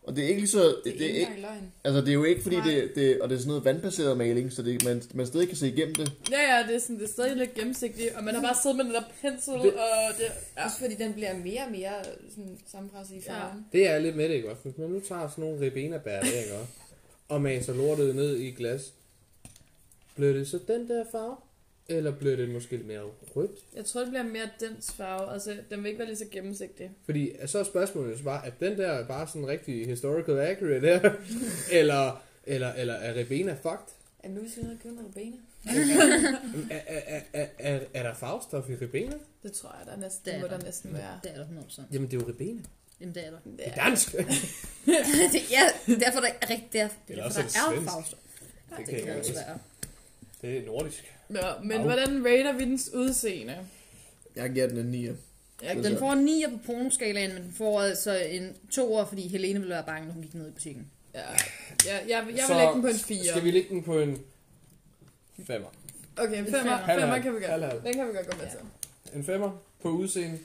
Speaker 3: Og det er ikke lige så...
Speaker 4: Det
Speaker 3: Det er
Speaker 4: ikke
Speaker 3: ikke,
Speaker 4: engang løgn.
Speaker 3: altså, det er jo ikke, fordi det, det... Og det er sådan noget vandbaseret maling, så det, man, man stadig kan se igennem det.
Speaker 1: Ja, ja, det er, sådan, det er stadig lidt gennemsigtigt, og man har bare siddet med den der pensel,
Speaker 2: Det-
Speaker 1: og det... Ja.
Speaker 4: Også fordi den bliver mere og mere øh, sådan, sammenpresset i farven.
Speaker 2: Det er jeg lidt med det, ikke også? Hvis man nu tager sådan nogle ribena-bær, der, ikke også? Og maser lortet ned i et glas. Bliver det så den der farve? Eller bliver det måske lidt mere rødt?
Speaker 1: Jeg tror, det bliver mere dens farve. Altså, den vil ikke være lige så gennemsigtig.
Speaker 2: Fordi øh, så er spørgsmålet jo så bare, at den der er bare sådan rigtig historical accurate her? eller, eller, eller er ribena fucked?
Speaker 4: Er nu hvis vi nede og købe noget ribena?
Speaker 2: Er, er, er, er, er, er der farvestof i ribena?
Speaker 5: Det tror jeg, der næsten,
Speaker 12: Det
Speaker 5: det
Speaker 12: er
Speaker 5: må
Speaker 12: der.
Speaker 5: der næsten være.
Speaker 12: Det er der 100%.
Speaker 2: Jamen, det er jo ribena.
Speaker 12: Jamen, det er der.
Speaker 2: Det er dansk.
Speaker 12: det, ja, derfor der er rigtig der, det er
Speaker 2: Eller
Speaker 12: derfor,
Speaker 2: også
Speaker 12: der
Speaker 2: er det svensk.
Speaker 12: er Faust.
Speaker 2: Det
Speaker 12: Det
Speaker 2: kan
Speaker 12: kan
Speaker 2: jeg
Speaker 12: også
Speaker 2: ikke.
Speaker 12: være.
Speaker 2: Det er nordisk.
Speaker 1: Nå, men
Speaker 2: Au.
Speaker 1: hvordan rater vi dens udseende?
Speaker 3: Jeg giver den en 9.
Speaker 1: Ja,
Speaker 3: Det er
Speaker 12: Den
Speaker 3: så-
Speaker 12: får en 9 på pornoskalaen, men den får altså en 2 fordi Helene ville være bange, når hun gik ned i butikken.
Speaker 1: Ja, jeg, jeg, jeg vil lægge den på en 4.
Speaker 2: Skal vi lægge den på en 5'er?
Speaker 1: Okay, en femmer.
Speaker 12: femmer.
Speaker 1: Femmer kan vi godt.
Speaker 2: Halvhalv.
Speaker 1: Den kan vi godt gå med
Speaker 12: Ja.
Speaker 1: til.
Speaker 2: En 5'er på udseende.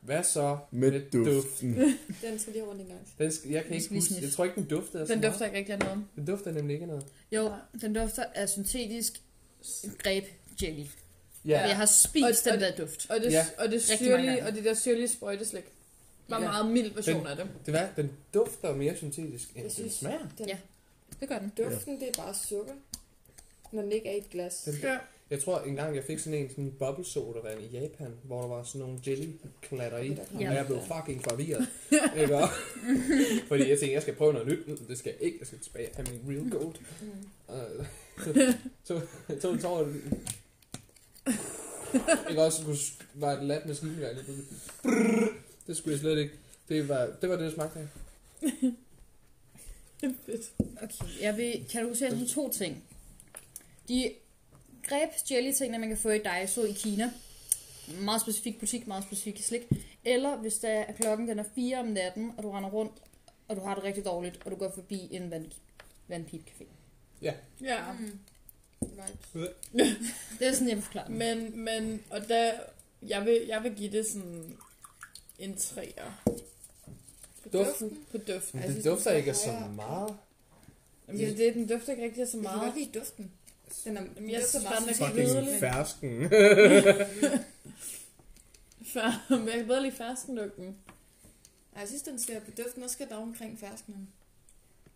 Speaker 2: Hvad så
Speaker 3: Med duften.
Speaker 4: Den skal lige have rundt en gang.
Speaker 2: Den skal, jeg kan
Speaker 12: Den
Speaker 2: ikke
Speaker 12: skal lige
Speaker 2: huske.
Speaker 12: snitte.
Speaker 2: Jeg tror ikke, den dufter. af så
Speaker 1: Den
Speaker 2: meget.
Speaker 1: dufter ikke rigtig af noget.
Speaker 2: Den dufter nemlig ikke af noget.
Speaker 12: Jo,
Speaker 1: Nej.
Speaker 12: den dufter af syntetisk greb jelly.
Speaker 2: Ja.
Speaker 12: Jeg har spist
Speaker 1: Og- og-
Speaker 12: den der duft.
Speaker 1: Og det,
Speaker 2: Ja.
Speaker 1: ja. og det
Speaker 12: Rigtig mange
Speaker 1: syrlige,
Speaker 12: gange.
Speaker 1: og det der syrlige sprøjteslik. Var
Speaker 12: Ja.
Speaker 1: en meget mild version
Speaker 2: Den-
Speaker 1: af det.
Speaker 2: Det var, den dufter mere syntetisk, end
Speaker 4: Jeg
Speaker 2: den
Speaker 4: synes-
Speaker 2: smager.
Speaker 4: Den
Speaker 12: Ja. Det gør den.
Speaker 4: duften, det er bare sukker. Når den ikke er i et glas.
Speaker 2: Den, Jeg tror engang, jeg fik sådan en sådan bubble sodavand i Japan, hvor der var sådan nogle jelly klatter i.
Speaker 4: Ja.
Speaker 2: Og jeg blev fucking forvirret. ikke? også? Fordi jeg tænkte, jeg skal prøve noget nyt. Det skal jeg ikke. Jeg skal tilbage og have min real gold.
Speaker 4: Mm.
Speaker 2: Og øh, så så tog en tår. Ikke også skulle var et lat maskingevær lige pludselig. Brrr. Det skulle jeg slet ikke. Det var det, var det der smagte af.
Speaker 12: Okay, jeg vil kategorisere det som to ting. De greb jelly tingene, man kan få i Daiso i Kina. Meget specifik butik, meget specifik slik. Eller hvis der er klokken den er 4 om natten, og du render rundt, og du har det rigtig dårligt, og du går forbi en vand, vandpipcafé.
Speaker 1: Ja,
Speaker 4: Mm. Vibes.
Speaker 12: Det er sådan, jeg vil forklare den.
Speaker 1: men, men, og der, jeg vil, jeg vil give det sådan en træer
Speaker 2: Duften.
Speaker 1: på duften.
Speaker 2: Men det
Speaker 4: Jeg synes, den
Speaker 2: dufter
Speaker 4: smager
Speaker 2: ikke af så
Speaker 4: højere.
Speaker 2: meget.
Speaker 1: Jamen, det, er det, den dufter ikke rigtig af så
Speaker 4: Jeg kan
Speaker 1: meget.
Speaker 4: godt lide duften. Den er, den
Speaker 1: jeg
Speaker 4: dufter
Speaker 1: synes
Speaker 4: meget
Speaker 1: bare, den er
Speaker 4: som
Speaker 1: fucking
Speaker 4: nydelig.
Speaker 2: fersken.
Speaker 1: Fær- Men jeg kan bedre lide ferskenlugten.
Speaker 4: Ej, jeg synes, den skal på duften. Også skal der omkring ferskenen.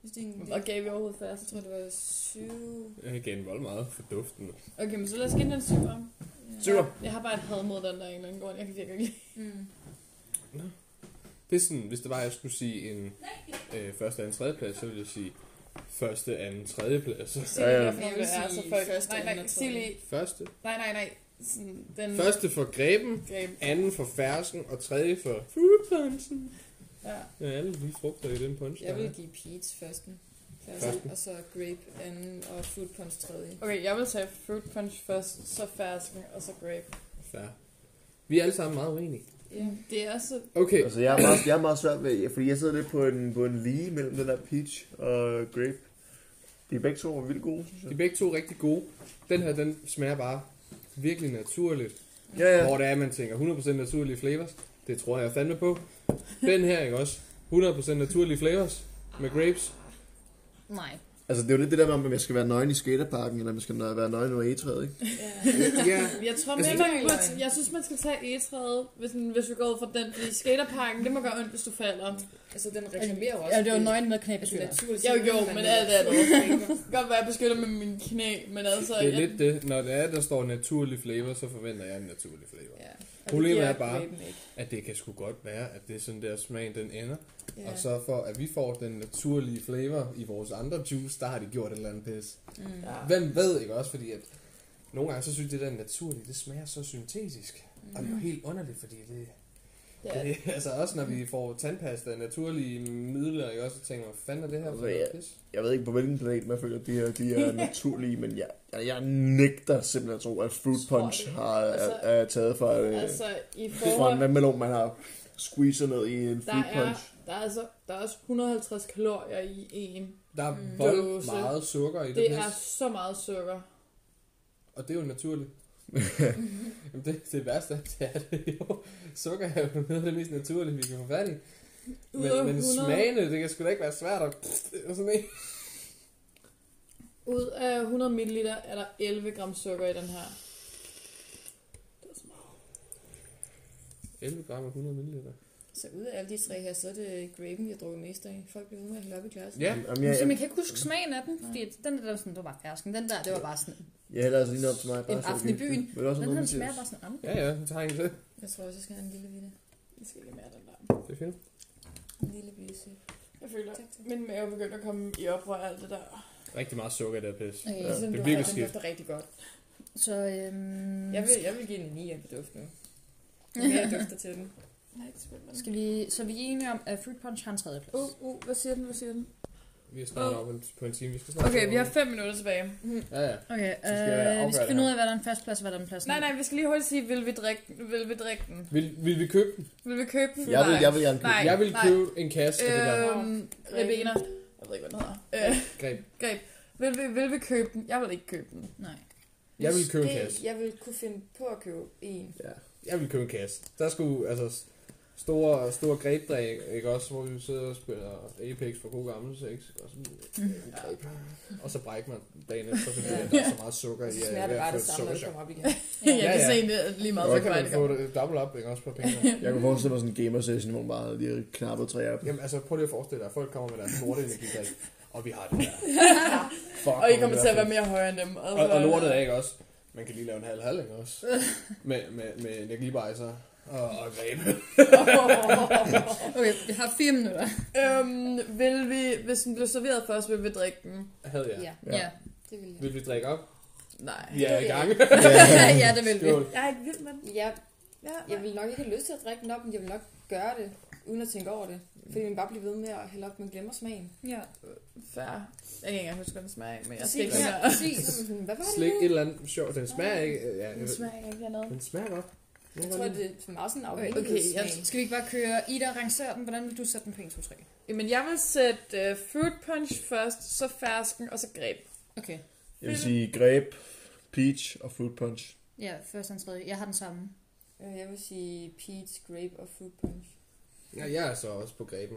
Speaker 4: Hvis det er en,
Speaker 1: Og gav vi overhovedet færsk.
Speaker 4: jeg tror, det var syv...
Speaker 2: Jeg gav den vold meget for duften.
Speaker 1: Okay, men så lad os give den en syver.
Speaker 3: Syver.
Speaker 1: Jeg har bare et had mod den der af en eller anden grund. Jeg kan virkelig ikke lide.
Speaker 4: Mm.
Speaker 2: Det er sådan, hvis det var, at jeg skulle sige en øh, første, anden, tredje plads, så ville jeg sige første, anden, tredje plads.
Speaker 1: Sig
Speaker 3: Ja,
Speaker 1: lige,
Speaker 3: ja.
Speaker 1: hvorfor
Speaker 4: Jeg
Speaker 1: det
Speaker 4: vil
Speaker 1: er så
Speaker 4: sige
Speaker 1: folk.
Speaker 4: første,
Speaker 1: Nej, nej,
Speaker 4: anden og
Speaker 1: sig
Speaker 4: tredje.
Speaker 1: lige.
Speaker 2: Første.
Speaker 1: Nej, nej, nej. Sådan, den
Speaker 2: Første for greben,
Speaker 1: greb.
Speaker 2: anden for fersken, og tredje for fruitpunchen.
Speaker 1: Ja.
Speaker 2: Ja, alle lige frugter i den punch.
Speaker 4: Jeg
Speaker 2: der
Speaker 4: vil
Speaker 2: er.
Speaker 4: give peach førsten.
Speaker 2: Førsten.
Speaker 4: Førsten. Og så grape anden, og fruit punch tredje.
Speaker 1: Okay, jeg vil tage fruit punch først, så fersken, og så grape.
Speaker 2: Fair. Vi er alle sammen meget uenige.
Speaker 4: Ja.
Speaker 1: Det er også...
Speaker 2: Okay,
Speaker 3: Altså, jeg er meget, jeg er meget svært ved, fordi jeg sidder lidt på en, på en lige mellem den der peach og grape. De er begge to er vildt gode, synes
Speaker 2: de er
Speaker 3: jeg.
Speaker 2: begge to rigtig gode. Den her, den smager bare virkelig naturligt.
Speaker 3: Ja, ja.
Speaker 2: Hvor det er, man tænker 100% naturlige flavors. Det tror jeg fandme på. Den her, ikke også? 100% naturlige flavors med grapes.
Speaker 12: Nej.
Speaker 3: Altså, det er jo lidt det der med, om jeg skal være nøgen i skaterparken, eller om jeg skal nø- være nøgen over egetræet, ikke?
Speaker 2: Ja,
Speaker 1: Jeg tror, altså,
Speaker 2: Altså,
Speaker 4: det-
Speaker 1: man burde, jeg synes, man skal tage egetræet, hvis, den- hvis vi går ud fra den. Fordi skaterparken, det må gøre ondt, hvis du falder.
Speaker 4: Altså, den reklamerer jo også.
Speaker 12: Ja, det var nøgen med
Speaker 4: Altså,
Speaker 12: knæbesyre.
Speaker 4: naturligt.
Speaker 1: Jeg
Speaker 4: så
Speaker 1: gjorde,
Speaker 4: man
Speaker 1: men
Speaker 4: jo
Speaker 1: alt andet.
Speaker 4: naturligt.
Speaker 1: Det kan godt være, jeg beskytter med mine knæ, men altså...
Speaker 2: det er
Speaker 1: jeg-
Speaker 2: lidt det. Når det er, der står naturlig flavor, så forventer jeg en naturlig flavor.
Speaker 4: Ja. Og det
Speaker 2: Problemet
Speaker 4: giver
Speaker 2: er bare-
Speaker 4: grapen ikke.
Speaker 2: At det kan sgu godt være, at det er sådan der smagen, den ender.
Speaker 4: Ja.
Speaker 2: Og så for, at vi får den naturlige flavor i vores andre juice, der har de gjort et eller andet pis.
Speaker 4: Mm.
Speaker 1: Ja.
Speaker 2: Hvem ved, ikke også? Fordi at nogle gange, så synes det der naturlige, det smager så syntetisk. Og det er jo helt underligt, fordi det...
Speaker 1: Det er
Speaker 2: det altså også når vi får tandpasta af naturlige midler, ikke også? Så tænker man, hvad fanden er det her for
Speaker 3: Altså, ja.
Speaker 2: noget pis?
Speaker 3: Jeg ved ikke, på hvilken planet man føler, at de her de er naturlige, men jeg, jeg, jeg nægter simpelthen at tro, at fruit
Speaker 1: Tror
Speaker 3: punch
Speaker 1: det.
Speaker 3: har, er,
Speaker 1: Altså,
Speaker 3: er taget fra, øh, altså,
Speaker 1: Altså, i
Speaker 3: fra en
Speaker 1: forhold...
Speaker 3: vandmelon, man har squeezet ned i en
Speaker 1: Der
Speaker 3: fruit
Speaker 1: er,
Speaker 3: punch.
Speaker 1: der er, altså, der er også 150 kalorier i en.
Speaker 2: Der er
Speaker 4: Mm.
Speaker 2: vold
Speaker 1: Dåse.
Speaker 2: meget sukker i det,
Speaker 1: Det
Speaker 2: pis.
Speaker 1: er så meget sukker.
Speaker 2: Og det er jo naturligt. Jamen det, det værste er, det er det jo. Sukker er jo noget af det mest naturlige, vi kan få fat i.
Speaker 1: Ud af
Speaker 2: Men, men
Speaker 1: 100
Speaker 2: smagene, det kan sgu da ikke være svært at... Og sådan en.
Speaker 1: Ud af 100 ml er der 11 gram sukker i den her.
Speaker 2: 11 gram og 100 ml.
Speaker 4: Så ud af alle de tre her, så er det grapen, jeg drukker mest af. Folk bliver ude med at hælde op i glasset.
Speaker 2: Ja.
Speaker 3: Jamen,
Speaker 12: Ja,
Speaker 3: jeg,
Speaker 12: så man
Speaker 3: jeg,
Speaker 12: kan ikke huske smagen af den, fordi den der, der var sådan, det var bare fersken. Den der, det var bare sådan,
Speaker 3: jeg hælder altså lige op til mig. bare
Speaker 12: En
Speaker 3: så
Speaker 12: aften i
Speaker 3: vi-
Speaker 12: byen.
Speaker 3: Vil du også have
Speaker 12: den
Speaker 3: noget,
Speaker 12: her
Speaker 3: Mathias?
Speaker 12: smager bare sådan andet.
Speaker 2: Ja, ja, så tager jeg en til.
Speaker 4: Jeg tror også, jeg skal have en lille bitte.
Speaker 1: Jeg skal ikke mere af den der.
Speaker 2: Det er fint.
Speaker 4: En lille bitte sip.
Speaker 1: Jeg føler,
Speaker 4: Tak, tak.
Speaker 1: min mave begynder at komme i oprør af alt det der.
Speaker 2: Rigtig meget sukker i det her pis.
Speaker 12: Okay,
Speaker 2: ja,
Speaker 4: sådan,
Speaker 2: det
Speaker 4: du
Speaker 2: er
Speaker 4: har,
Speaker 2: virkelig
Speaker 4: den
Speaker 2: skidt.
Speaker 4: dufter rigtig godt.
Speaker 12: Så øhm,
Speaker 4: Jeg vil, jeg vil give den 9 på duft nu. Jo mere jeg dufter til den.
Speaker 1: Nej, det spiller
Speaker 12: skal vi, så vi er enige om, at Fruit Punch har en tredje plads.
Speaker 1: Uh, uh, hvad siger den, hvad siger den?
Speaker 2: Vi er snart op en- på en time. Vi skal snart
Speaker 1: Okay,
Speaker 2: op
Speaker 1: vi har
Speaker 2: en-
Speaker 1: 5 minutter tilbage.
Speaker 2: Ja, ja.
Speaker 12: Okay,
Speaker 2: skal jeg
Speaker 12: øh,
Speaker 2: afgøre
Speaker 12: vi skal
Speaker 2: det
Speaker 12: finde ud
Speaker 2: her.
Speaker 12: af, hvad der er en fast plads, og hvad der er en plads.
Speaker 1: Nej, nej, vi skal lige hurtigt sige, vil vi drikke, vil vi drikke den?
Speaker 2: Vil, vil vi købe den?
Speaker 1: Vil vi købe den?
Speaker 3: Jeg vil,
Speaker 1: Nej.
Speaker 3: jeg vil gerne købe
Speaker 1: Nej,
Speaker 3: den.
Speaker 2: jeg vil
Speaker 1: nej.
Speaker 2: købe en kasse af det der
Speaker 1: Øhm, Ribena. Jeg ved ikke, hvad den hedder. Øh,
Speaker 2: greb.
Speaker 1: vil, vi, vil vi købe den? Jeg vil ikke købe den.
Speaker 12: nej.
Speaker 2: Jeg vil købe en
Speaker 4: Måske
Speaker 2: kasse.
Speaker 4: Jeg vil kunne finde på at købe en.
Speaker 2: Ja. Jeg vil købe en kasse. Der skulle, altså, s- store, store grebdræg, ikke også, hvor vi sidder og spiller Apex for god gammel sex, og øh, så, og så brækker man dagen efter, fordi
Speaker 4: Ja.
Speaker 2: at der er så meget sukker
Speaker 4: Og
Speaker 2: i,
Speaker 4: så
Speaker 2: at jeg
Speaker 4: smager
Speaker 2: er ved
Speaker 4: det
Speaker 2: at
Speaker 4: bare
Speaker 2: få
Speaker 4: det
Speaker 2: et
Speaker 4: samme, når du
Speaker 2: sukkerchok.
Speaker 4: kommer op igen.
Speaker 1: Ja, jeg
Speaker 2: Ja,
Speaker 1: kan
Speaker 2: ja.
Speaker 1: se det lige meget,
Speaker 2: Så
Speaker 1: så
Speaker 2: kan
Speaker 1: vej
Speaker 2: man
Speaker 1: det
Speaker 2: få
Speaker 1: kommer.
Speaker 2: det double up, ikke også, på pengene.
Speaker 3: Jeg kunne forestille mig sådan en gamer session, hvor man bare lige knapper tre op.
Speaker 2: Jamen, altså, prøv lige at forestille dig, at folk kommer med deres lorte energidrik, og vi har det der. Fuck,
Speaker 1: Og I
Speaker 2: hvor
Speaker 1: kommer
Speaker 2: det
Speaker 1: til
Speaker 2: er
Speaker 1: at være
Speaker 2: fedt.
Speaker 1: mere højere end dem.
Speaker 2: Og, og lortet er ikke også. Man kan lige lave en halv halv, ikke også? Med, med, med energibejser og, og greb.
Speaker 12: Okay, jeg har fire minutter.
Speaker 1: Øhm, vil vi, hvis den blev serveret for os, vil vi drikke den?
Speaker 2: Havde jeg.
Speaker 4: Ja,
Speaker 12: Ja, ja,
Speaker 4: det vil jeg.
Speaker 2: Vil vi drikke op?
Speaker 1: Nej.
Speaker 2: Vi er i gang.
Speaker 12: ja det vil vi.
Speaker 2: Skål.
Speaker 1: Jeg er ikke vild med den.
Speaker 4: Ja,
Speaker 1: Ja,
Speaker 4: jeg vil nok ikke have lyst til at drikke den op, men jeg vil nok gøre det, uden at tænke over det. Fordi man bare bliver ved med at hælde op, man glemmer smagen.
Speaker 1: ja. Fair. Jeg kan ikke engang huske, hvad den smager af, men jeg skal
Speaker 4: Præcis.
Speaker 1: ikke
Speaker 4: Ja,
Speaker 1: ja.
Speaker 4: præcis. Så er man sådan, Hvad var det
Speaker 2: Slik
Speaker 4: nu?
Speaker 2: et eller andet sjovt. Den smager ikke. Ja, jeg
Speaker 1: Den
Speaker 2: ved-
Speaker 1: smager ikke af noget.
Speaker 2: den smager godt. Den
Speaker 4: Jeg
Speaker 2: kan
Speaker 4: tror,
Speaker 2: godt lide.
Speaker 4: det er meget sådan en
Speaker 1: Okay, jeg-
Speaker 4: afhængighedssmag.
Speaker 12: Skal vi ikke bare køre Ida og rangere den? Hvordan vil du sætte den på 1, 2, 3?
Speaker 1: Jamen, jeg vil sætte uh, fruit punch først, så fersken, og så greb.
Speaker 12: Okay.
Speaker 3: Jeg vil sige greb, peach og fruit punch.
Speaker 12: Ja, første og tredje. Jeg har den samme.
Speaker 4: Øh, Jeg vil sige peach, grape og fruit punch.
Speaker 2: Ja, jeg er så også på greben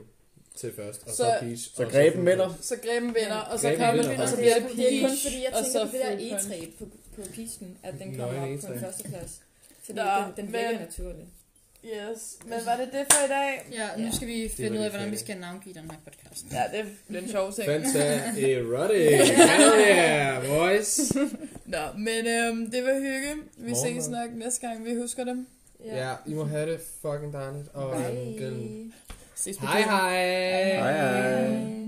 Speaker 2: til først. Og
Speaker 1: Så-
Speaker 2: så, så peach.
Speaker 3: Så
Speaker 2: og
Speaker 3: greben med dig.
Speaker 1: Så greben vinder, og så
Speaker 2: Greben
Speaker 1: kommer
Speaker 2: vinder,
Speaker 1: og så
Speaker 2: faktisk.
Speaker 1: bliver det
Speaker 4: det er kun
Speaker 1: peach,
Speaker 4: fordi, jeg
Speaker 1: og
Speaker 4: tænker
Speaker 1: så
Speaker 4: på det der E
Speaker 1: fruit punch.
Speaker 4: egetræ på, på peachen, at den
Speaker 2: Nå,
Speaker 4: kommer
Speaker 2: en
Speaker 4: op på
Speaker 2: egetræ.
Speaker 4: en førsteplads. Fordi
Speaker 1: Nå,
Speaker 4: den, den
Speaker 1: men-
Speaker 4: virker naturligt.
Speaker 1: Yes, men var det det for i dag?
Speaker 12: Ja, nu
Speaker 4: Ja.
Speaker 12: skal vi
Speaker 2: Det er
Speaker 12: finde ud af,
Speaker 2: rigtig
Speaker 12: hvordan vi
Speaker 2: fedt.
Speaker 12: skal navngive den her podcast.
Speaker 1: Ja, det blev en sjov ting.
Speaker 2: Fanta erotic. Hell yeah, boys.
Speaker 1: Nå, men øhm, det var hygge. Vi
Speaker 2: Morgen,
Speaker 1: ses nok næste gang, vi husker dem.
Speaker 2: Ja, I må have det fucking dejligt. Og
Speaker 4: Bye.
Speaker 2: grill.
Speaker 1: Ses på
Speaker 2: Hej
Speaker 3: 哎
Speaker 1: turen.
Speaker 2: hej.
Speaker 3: Hej hej.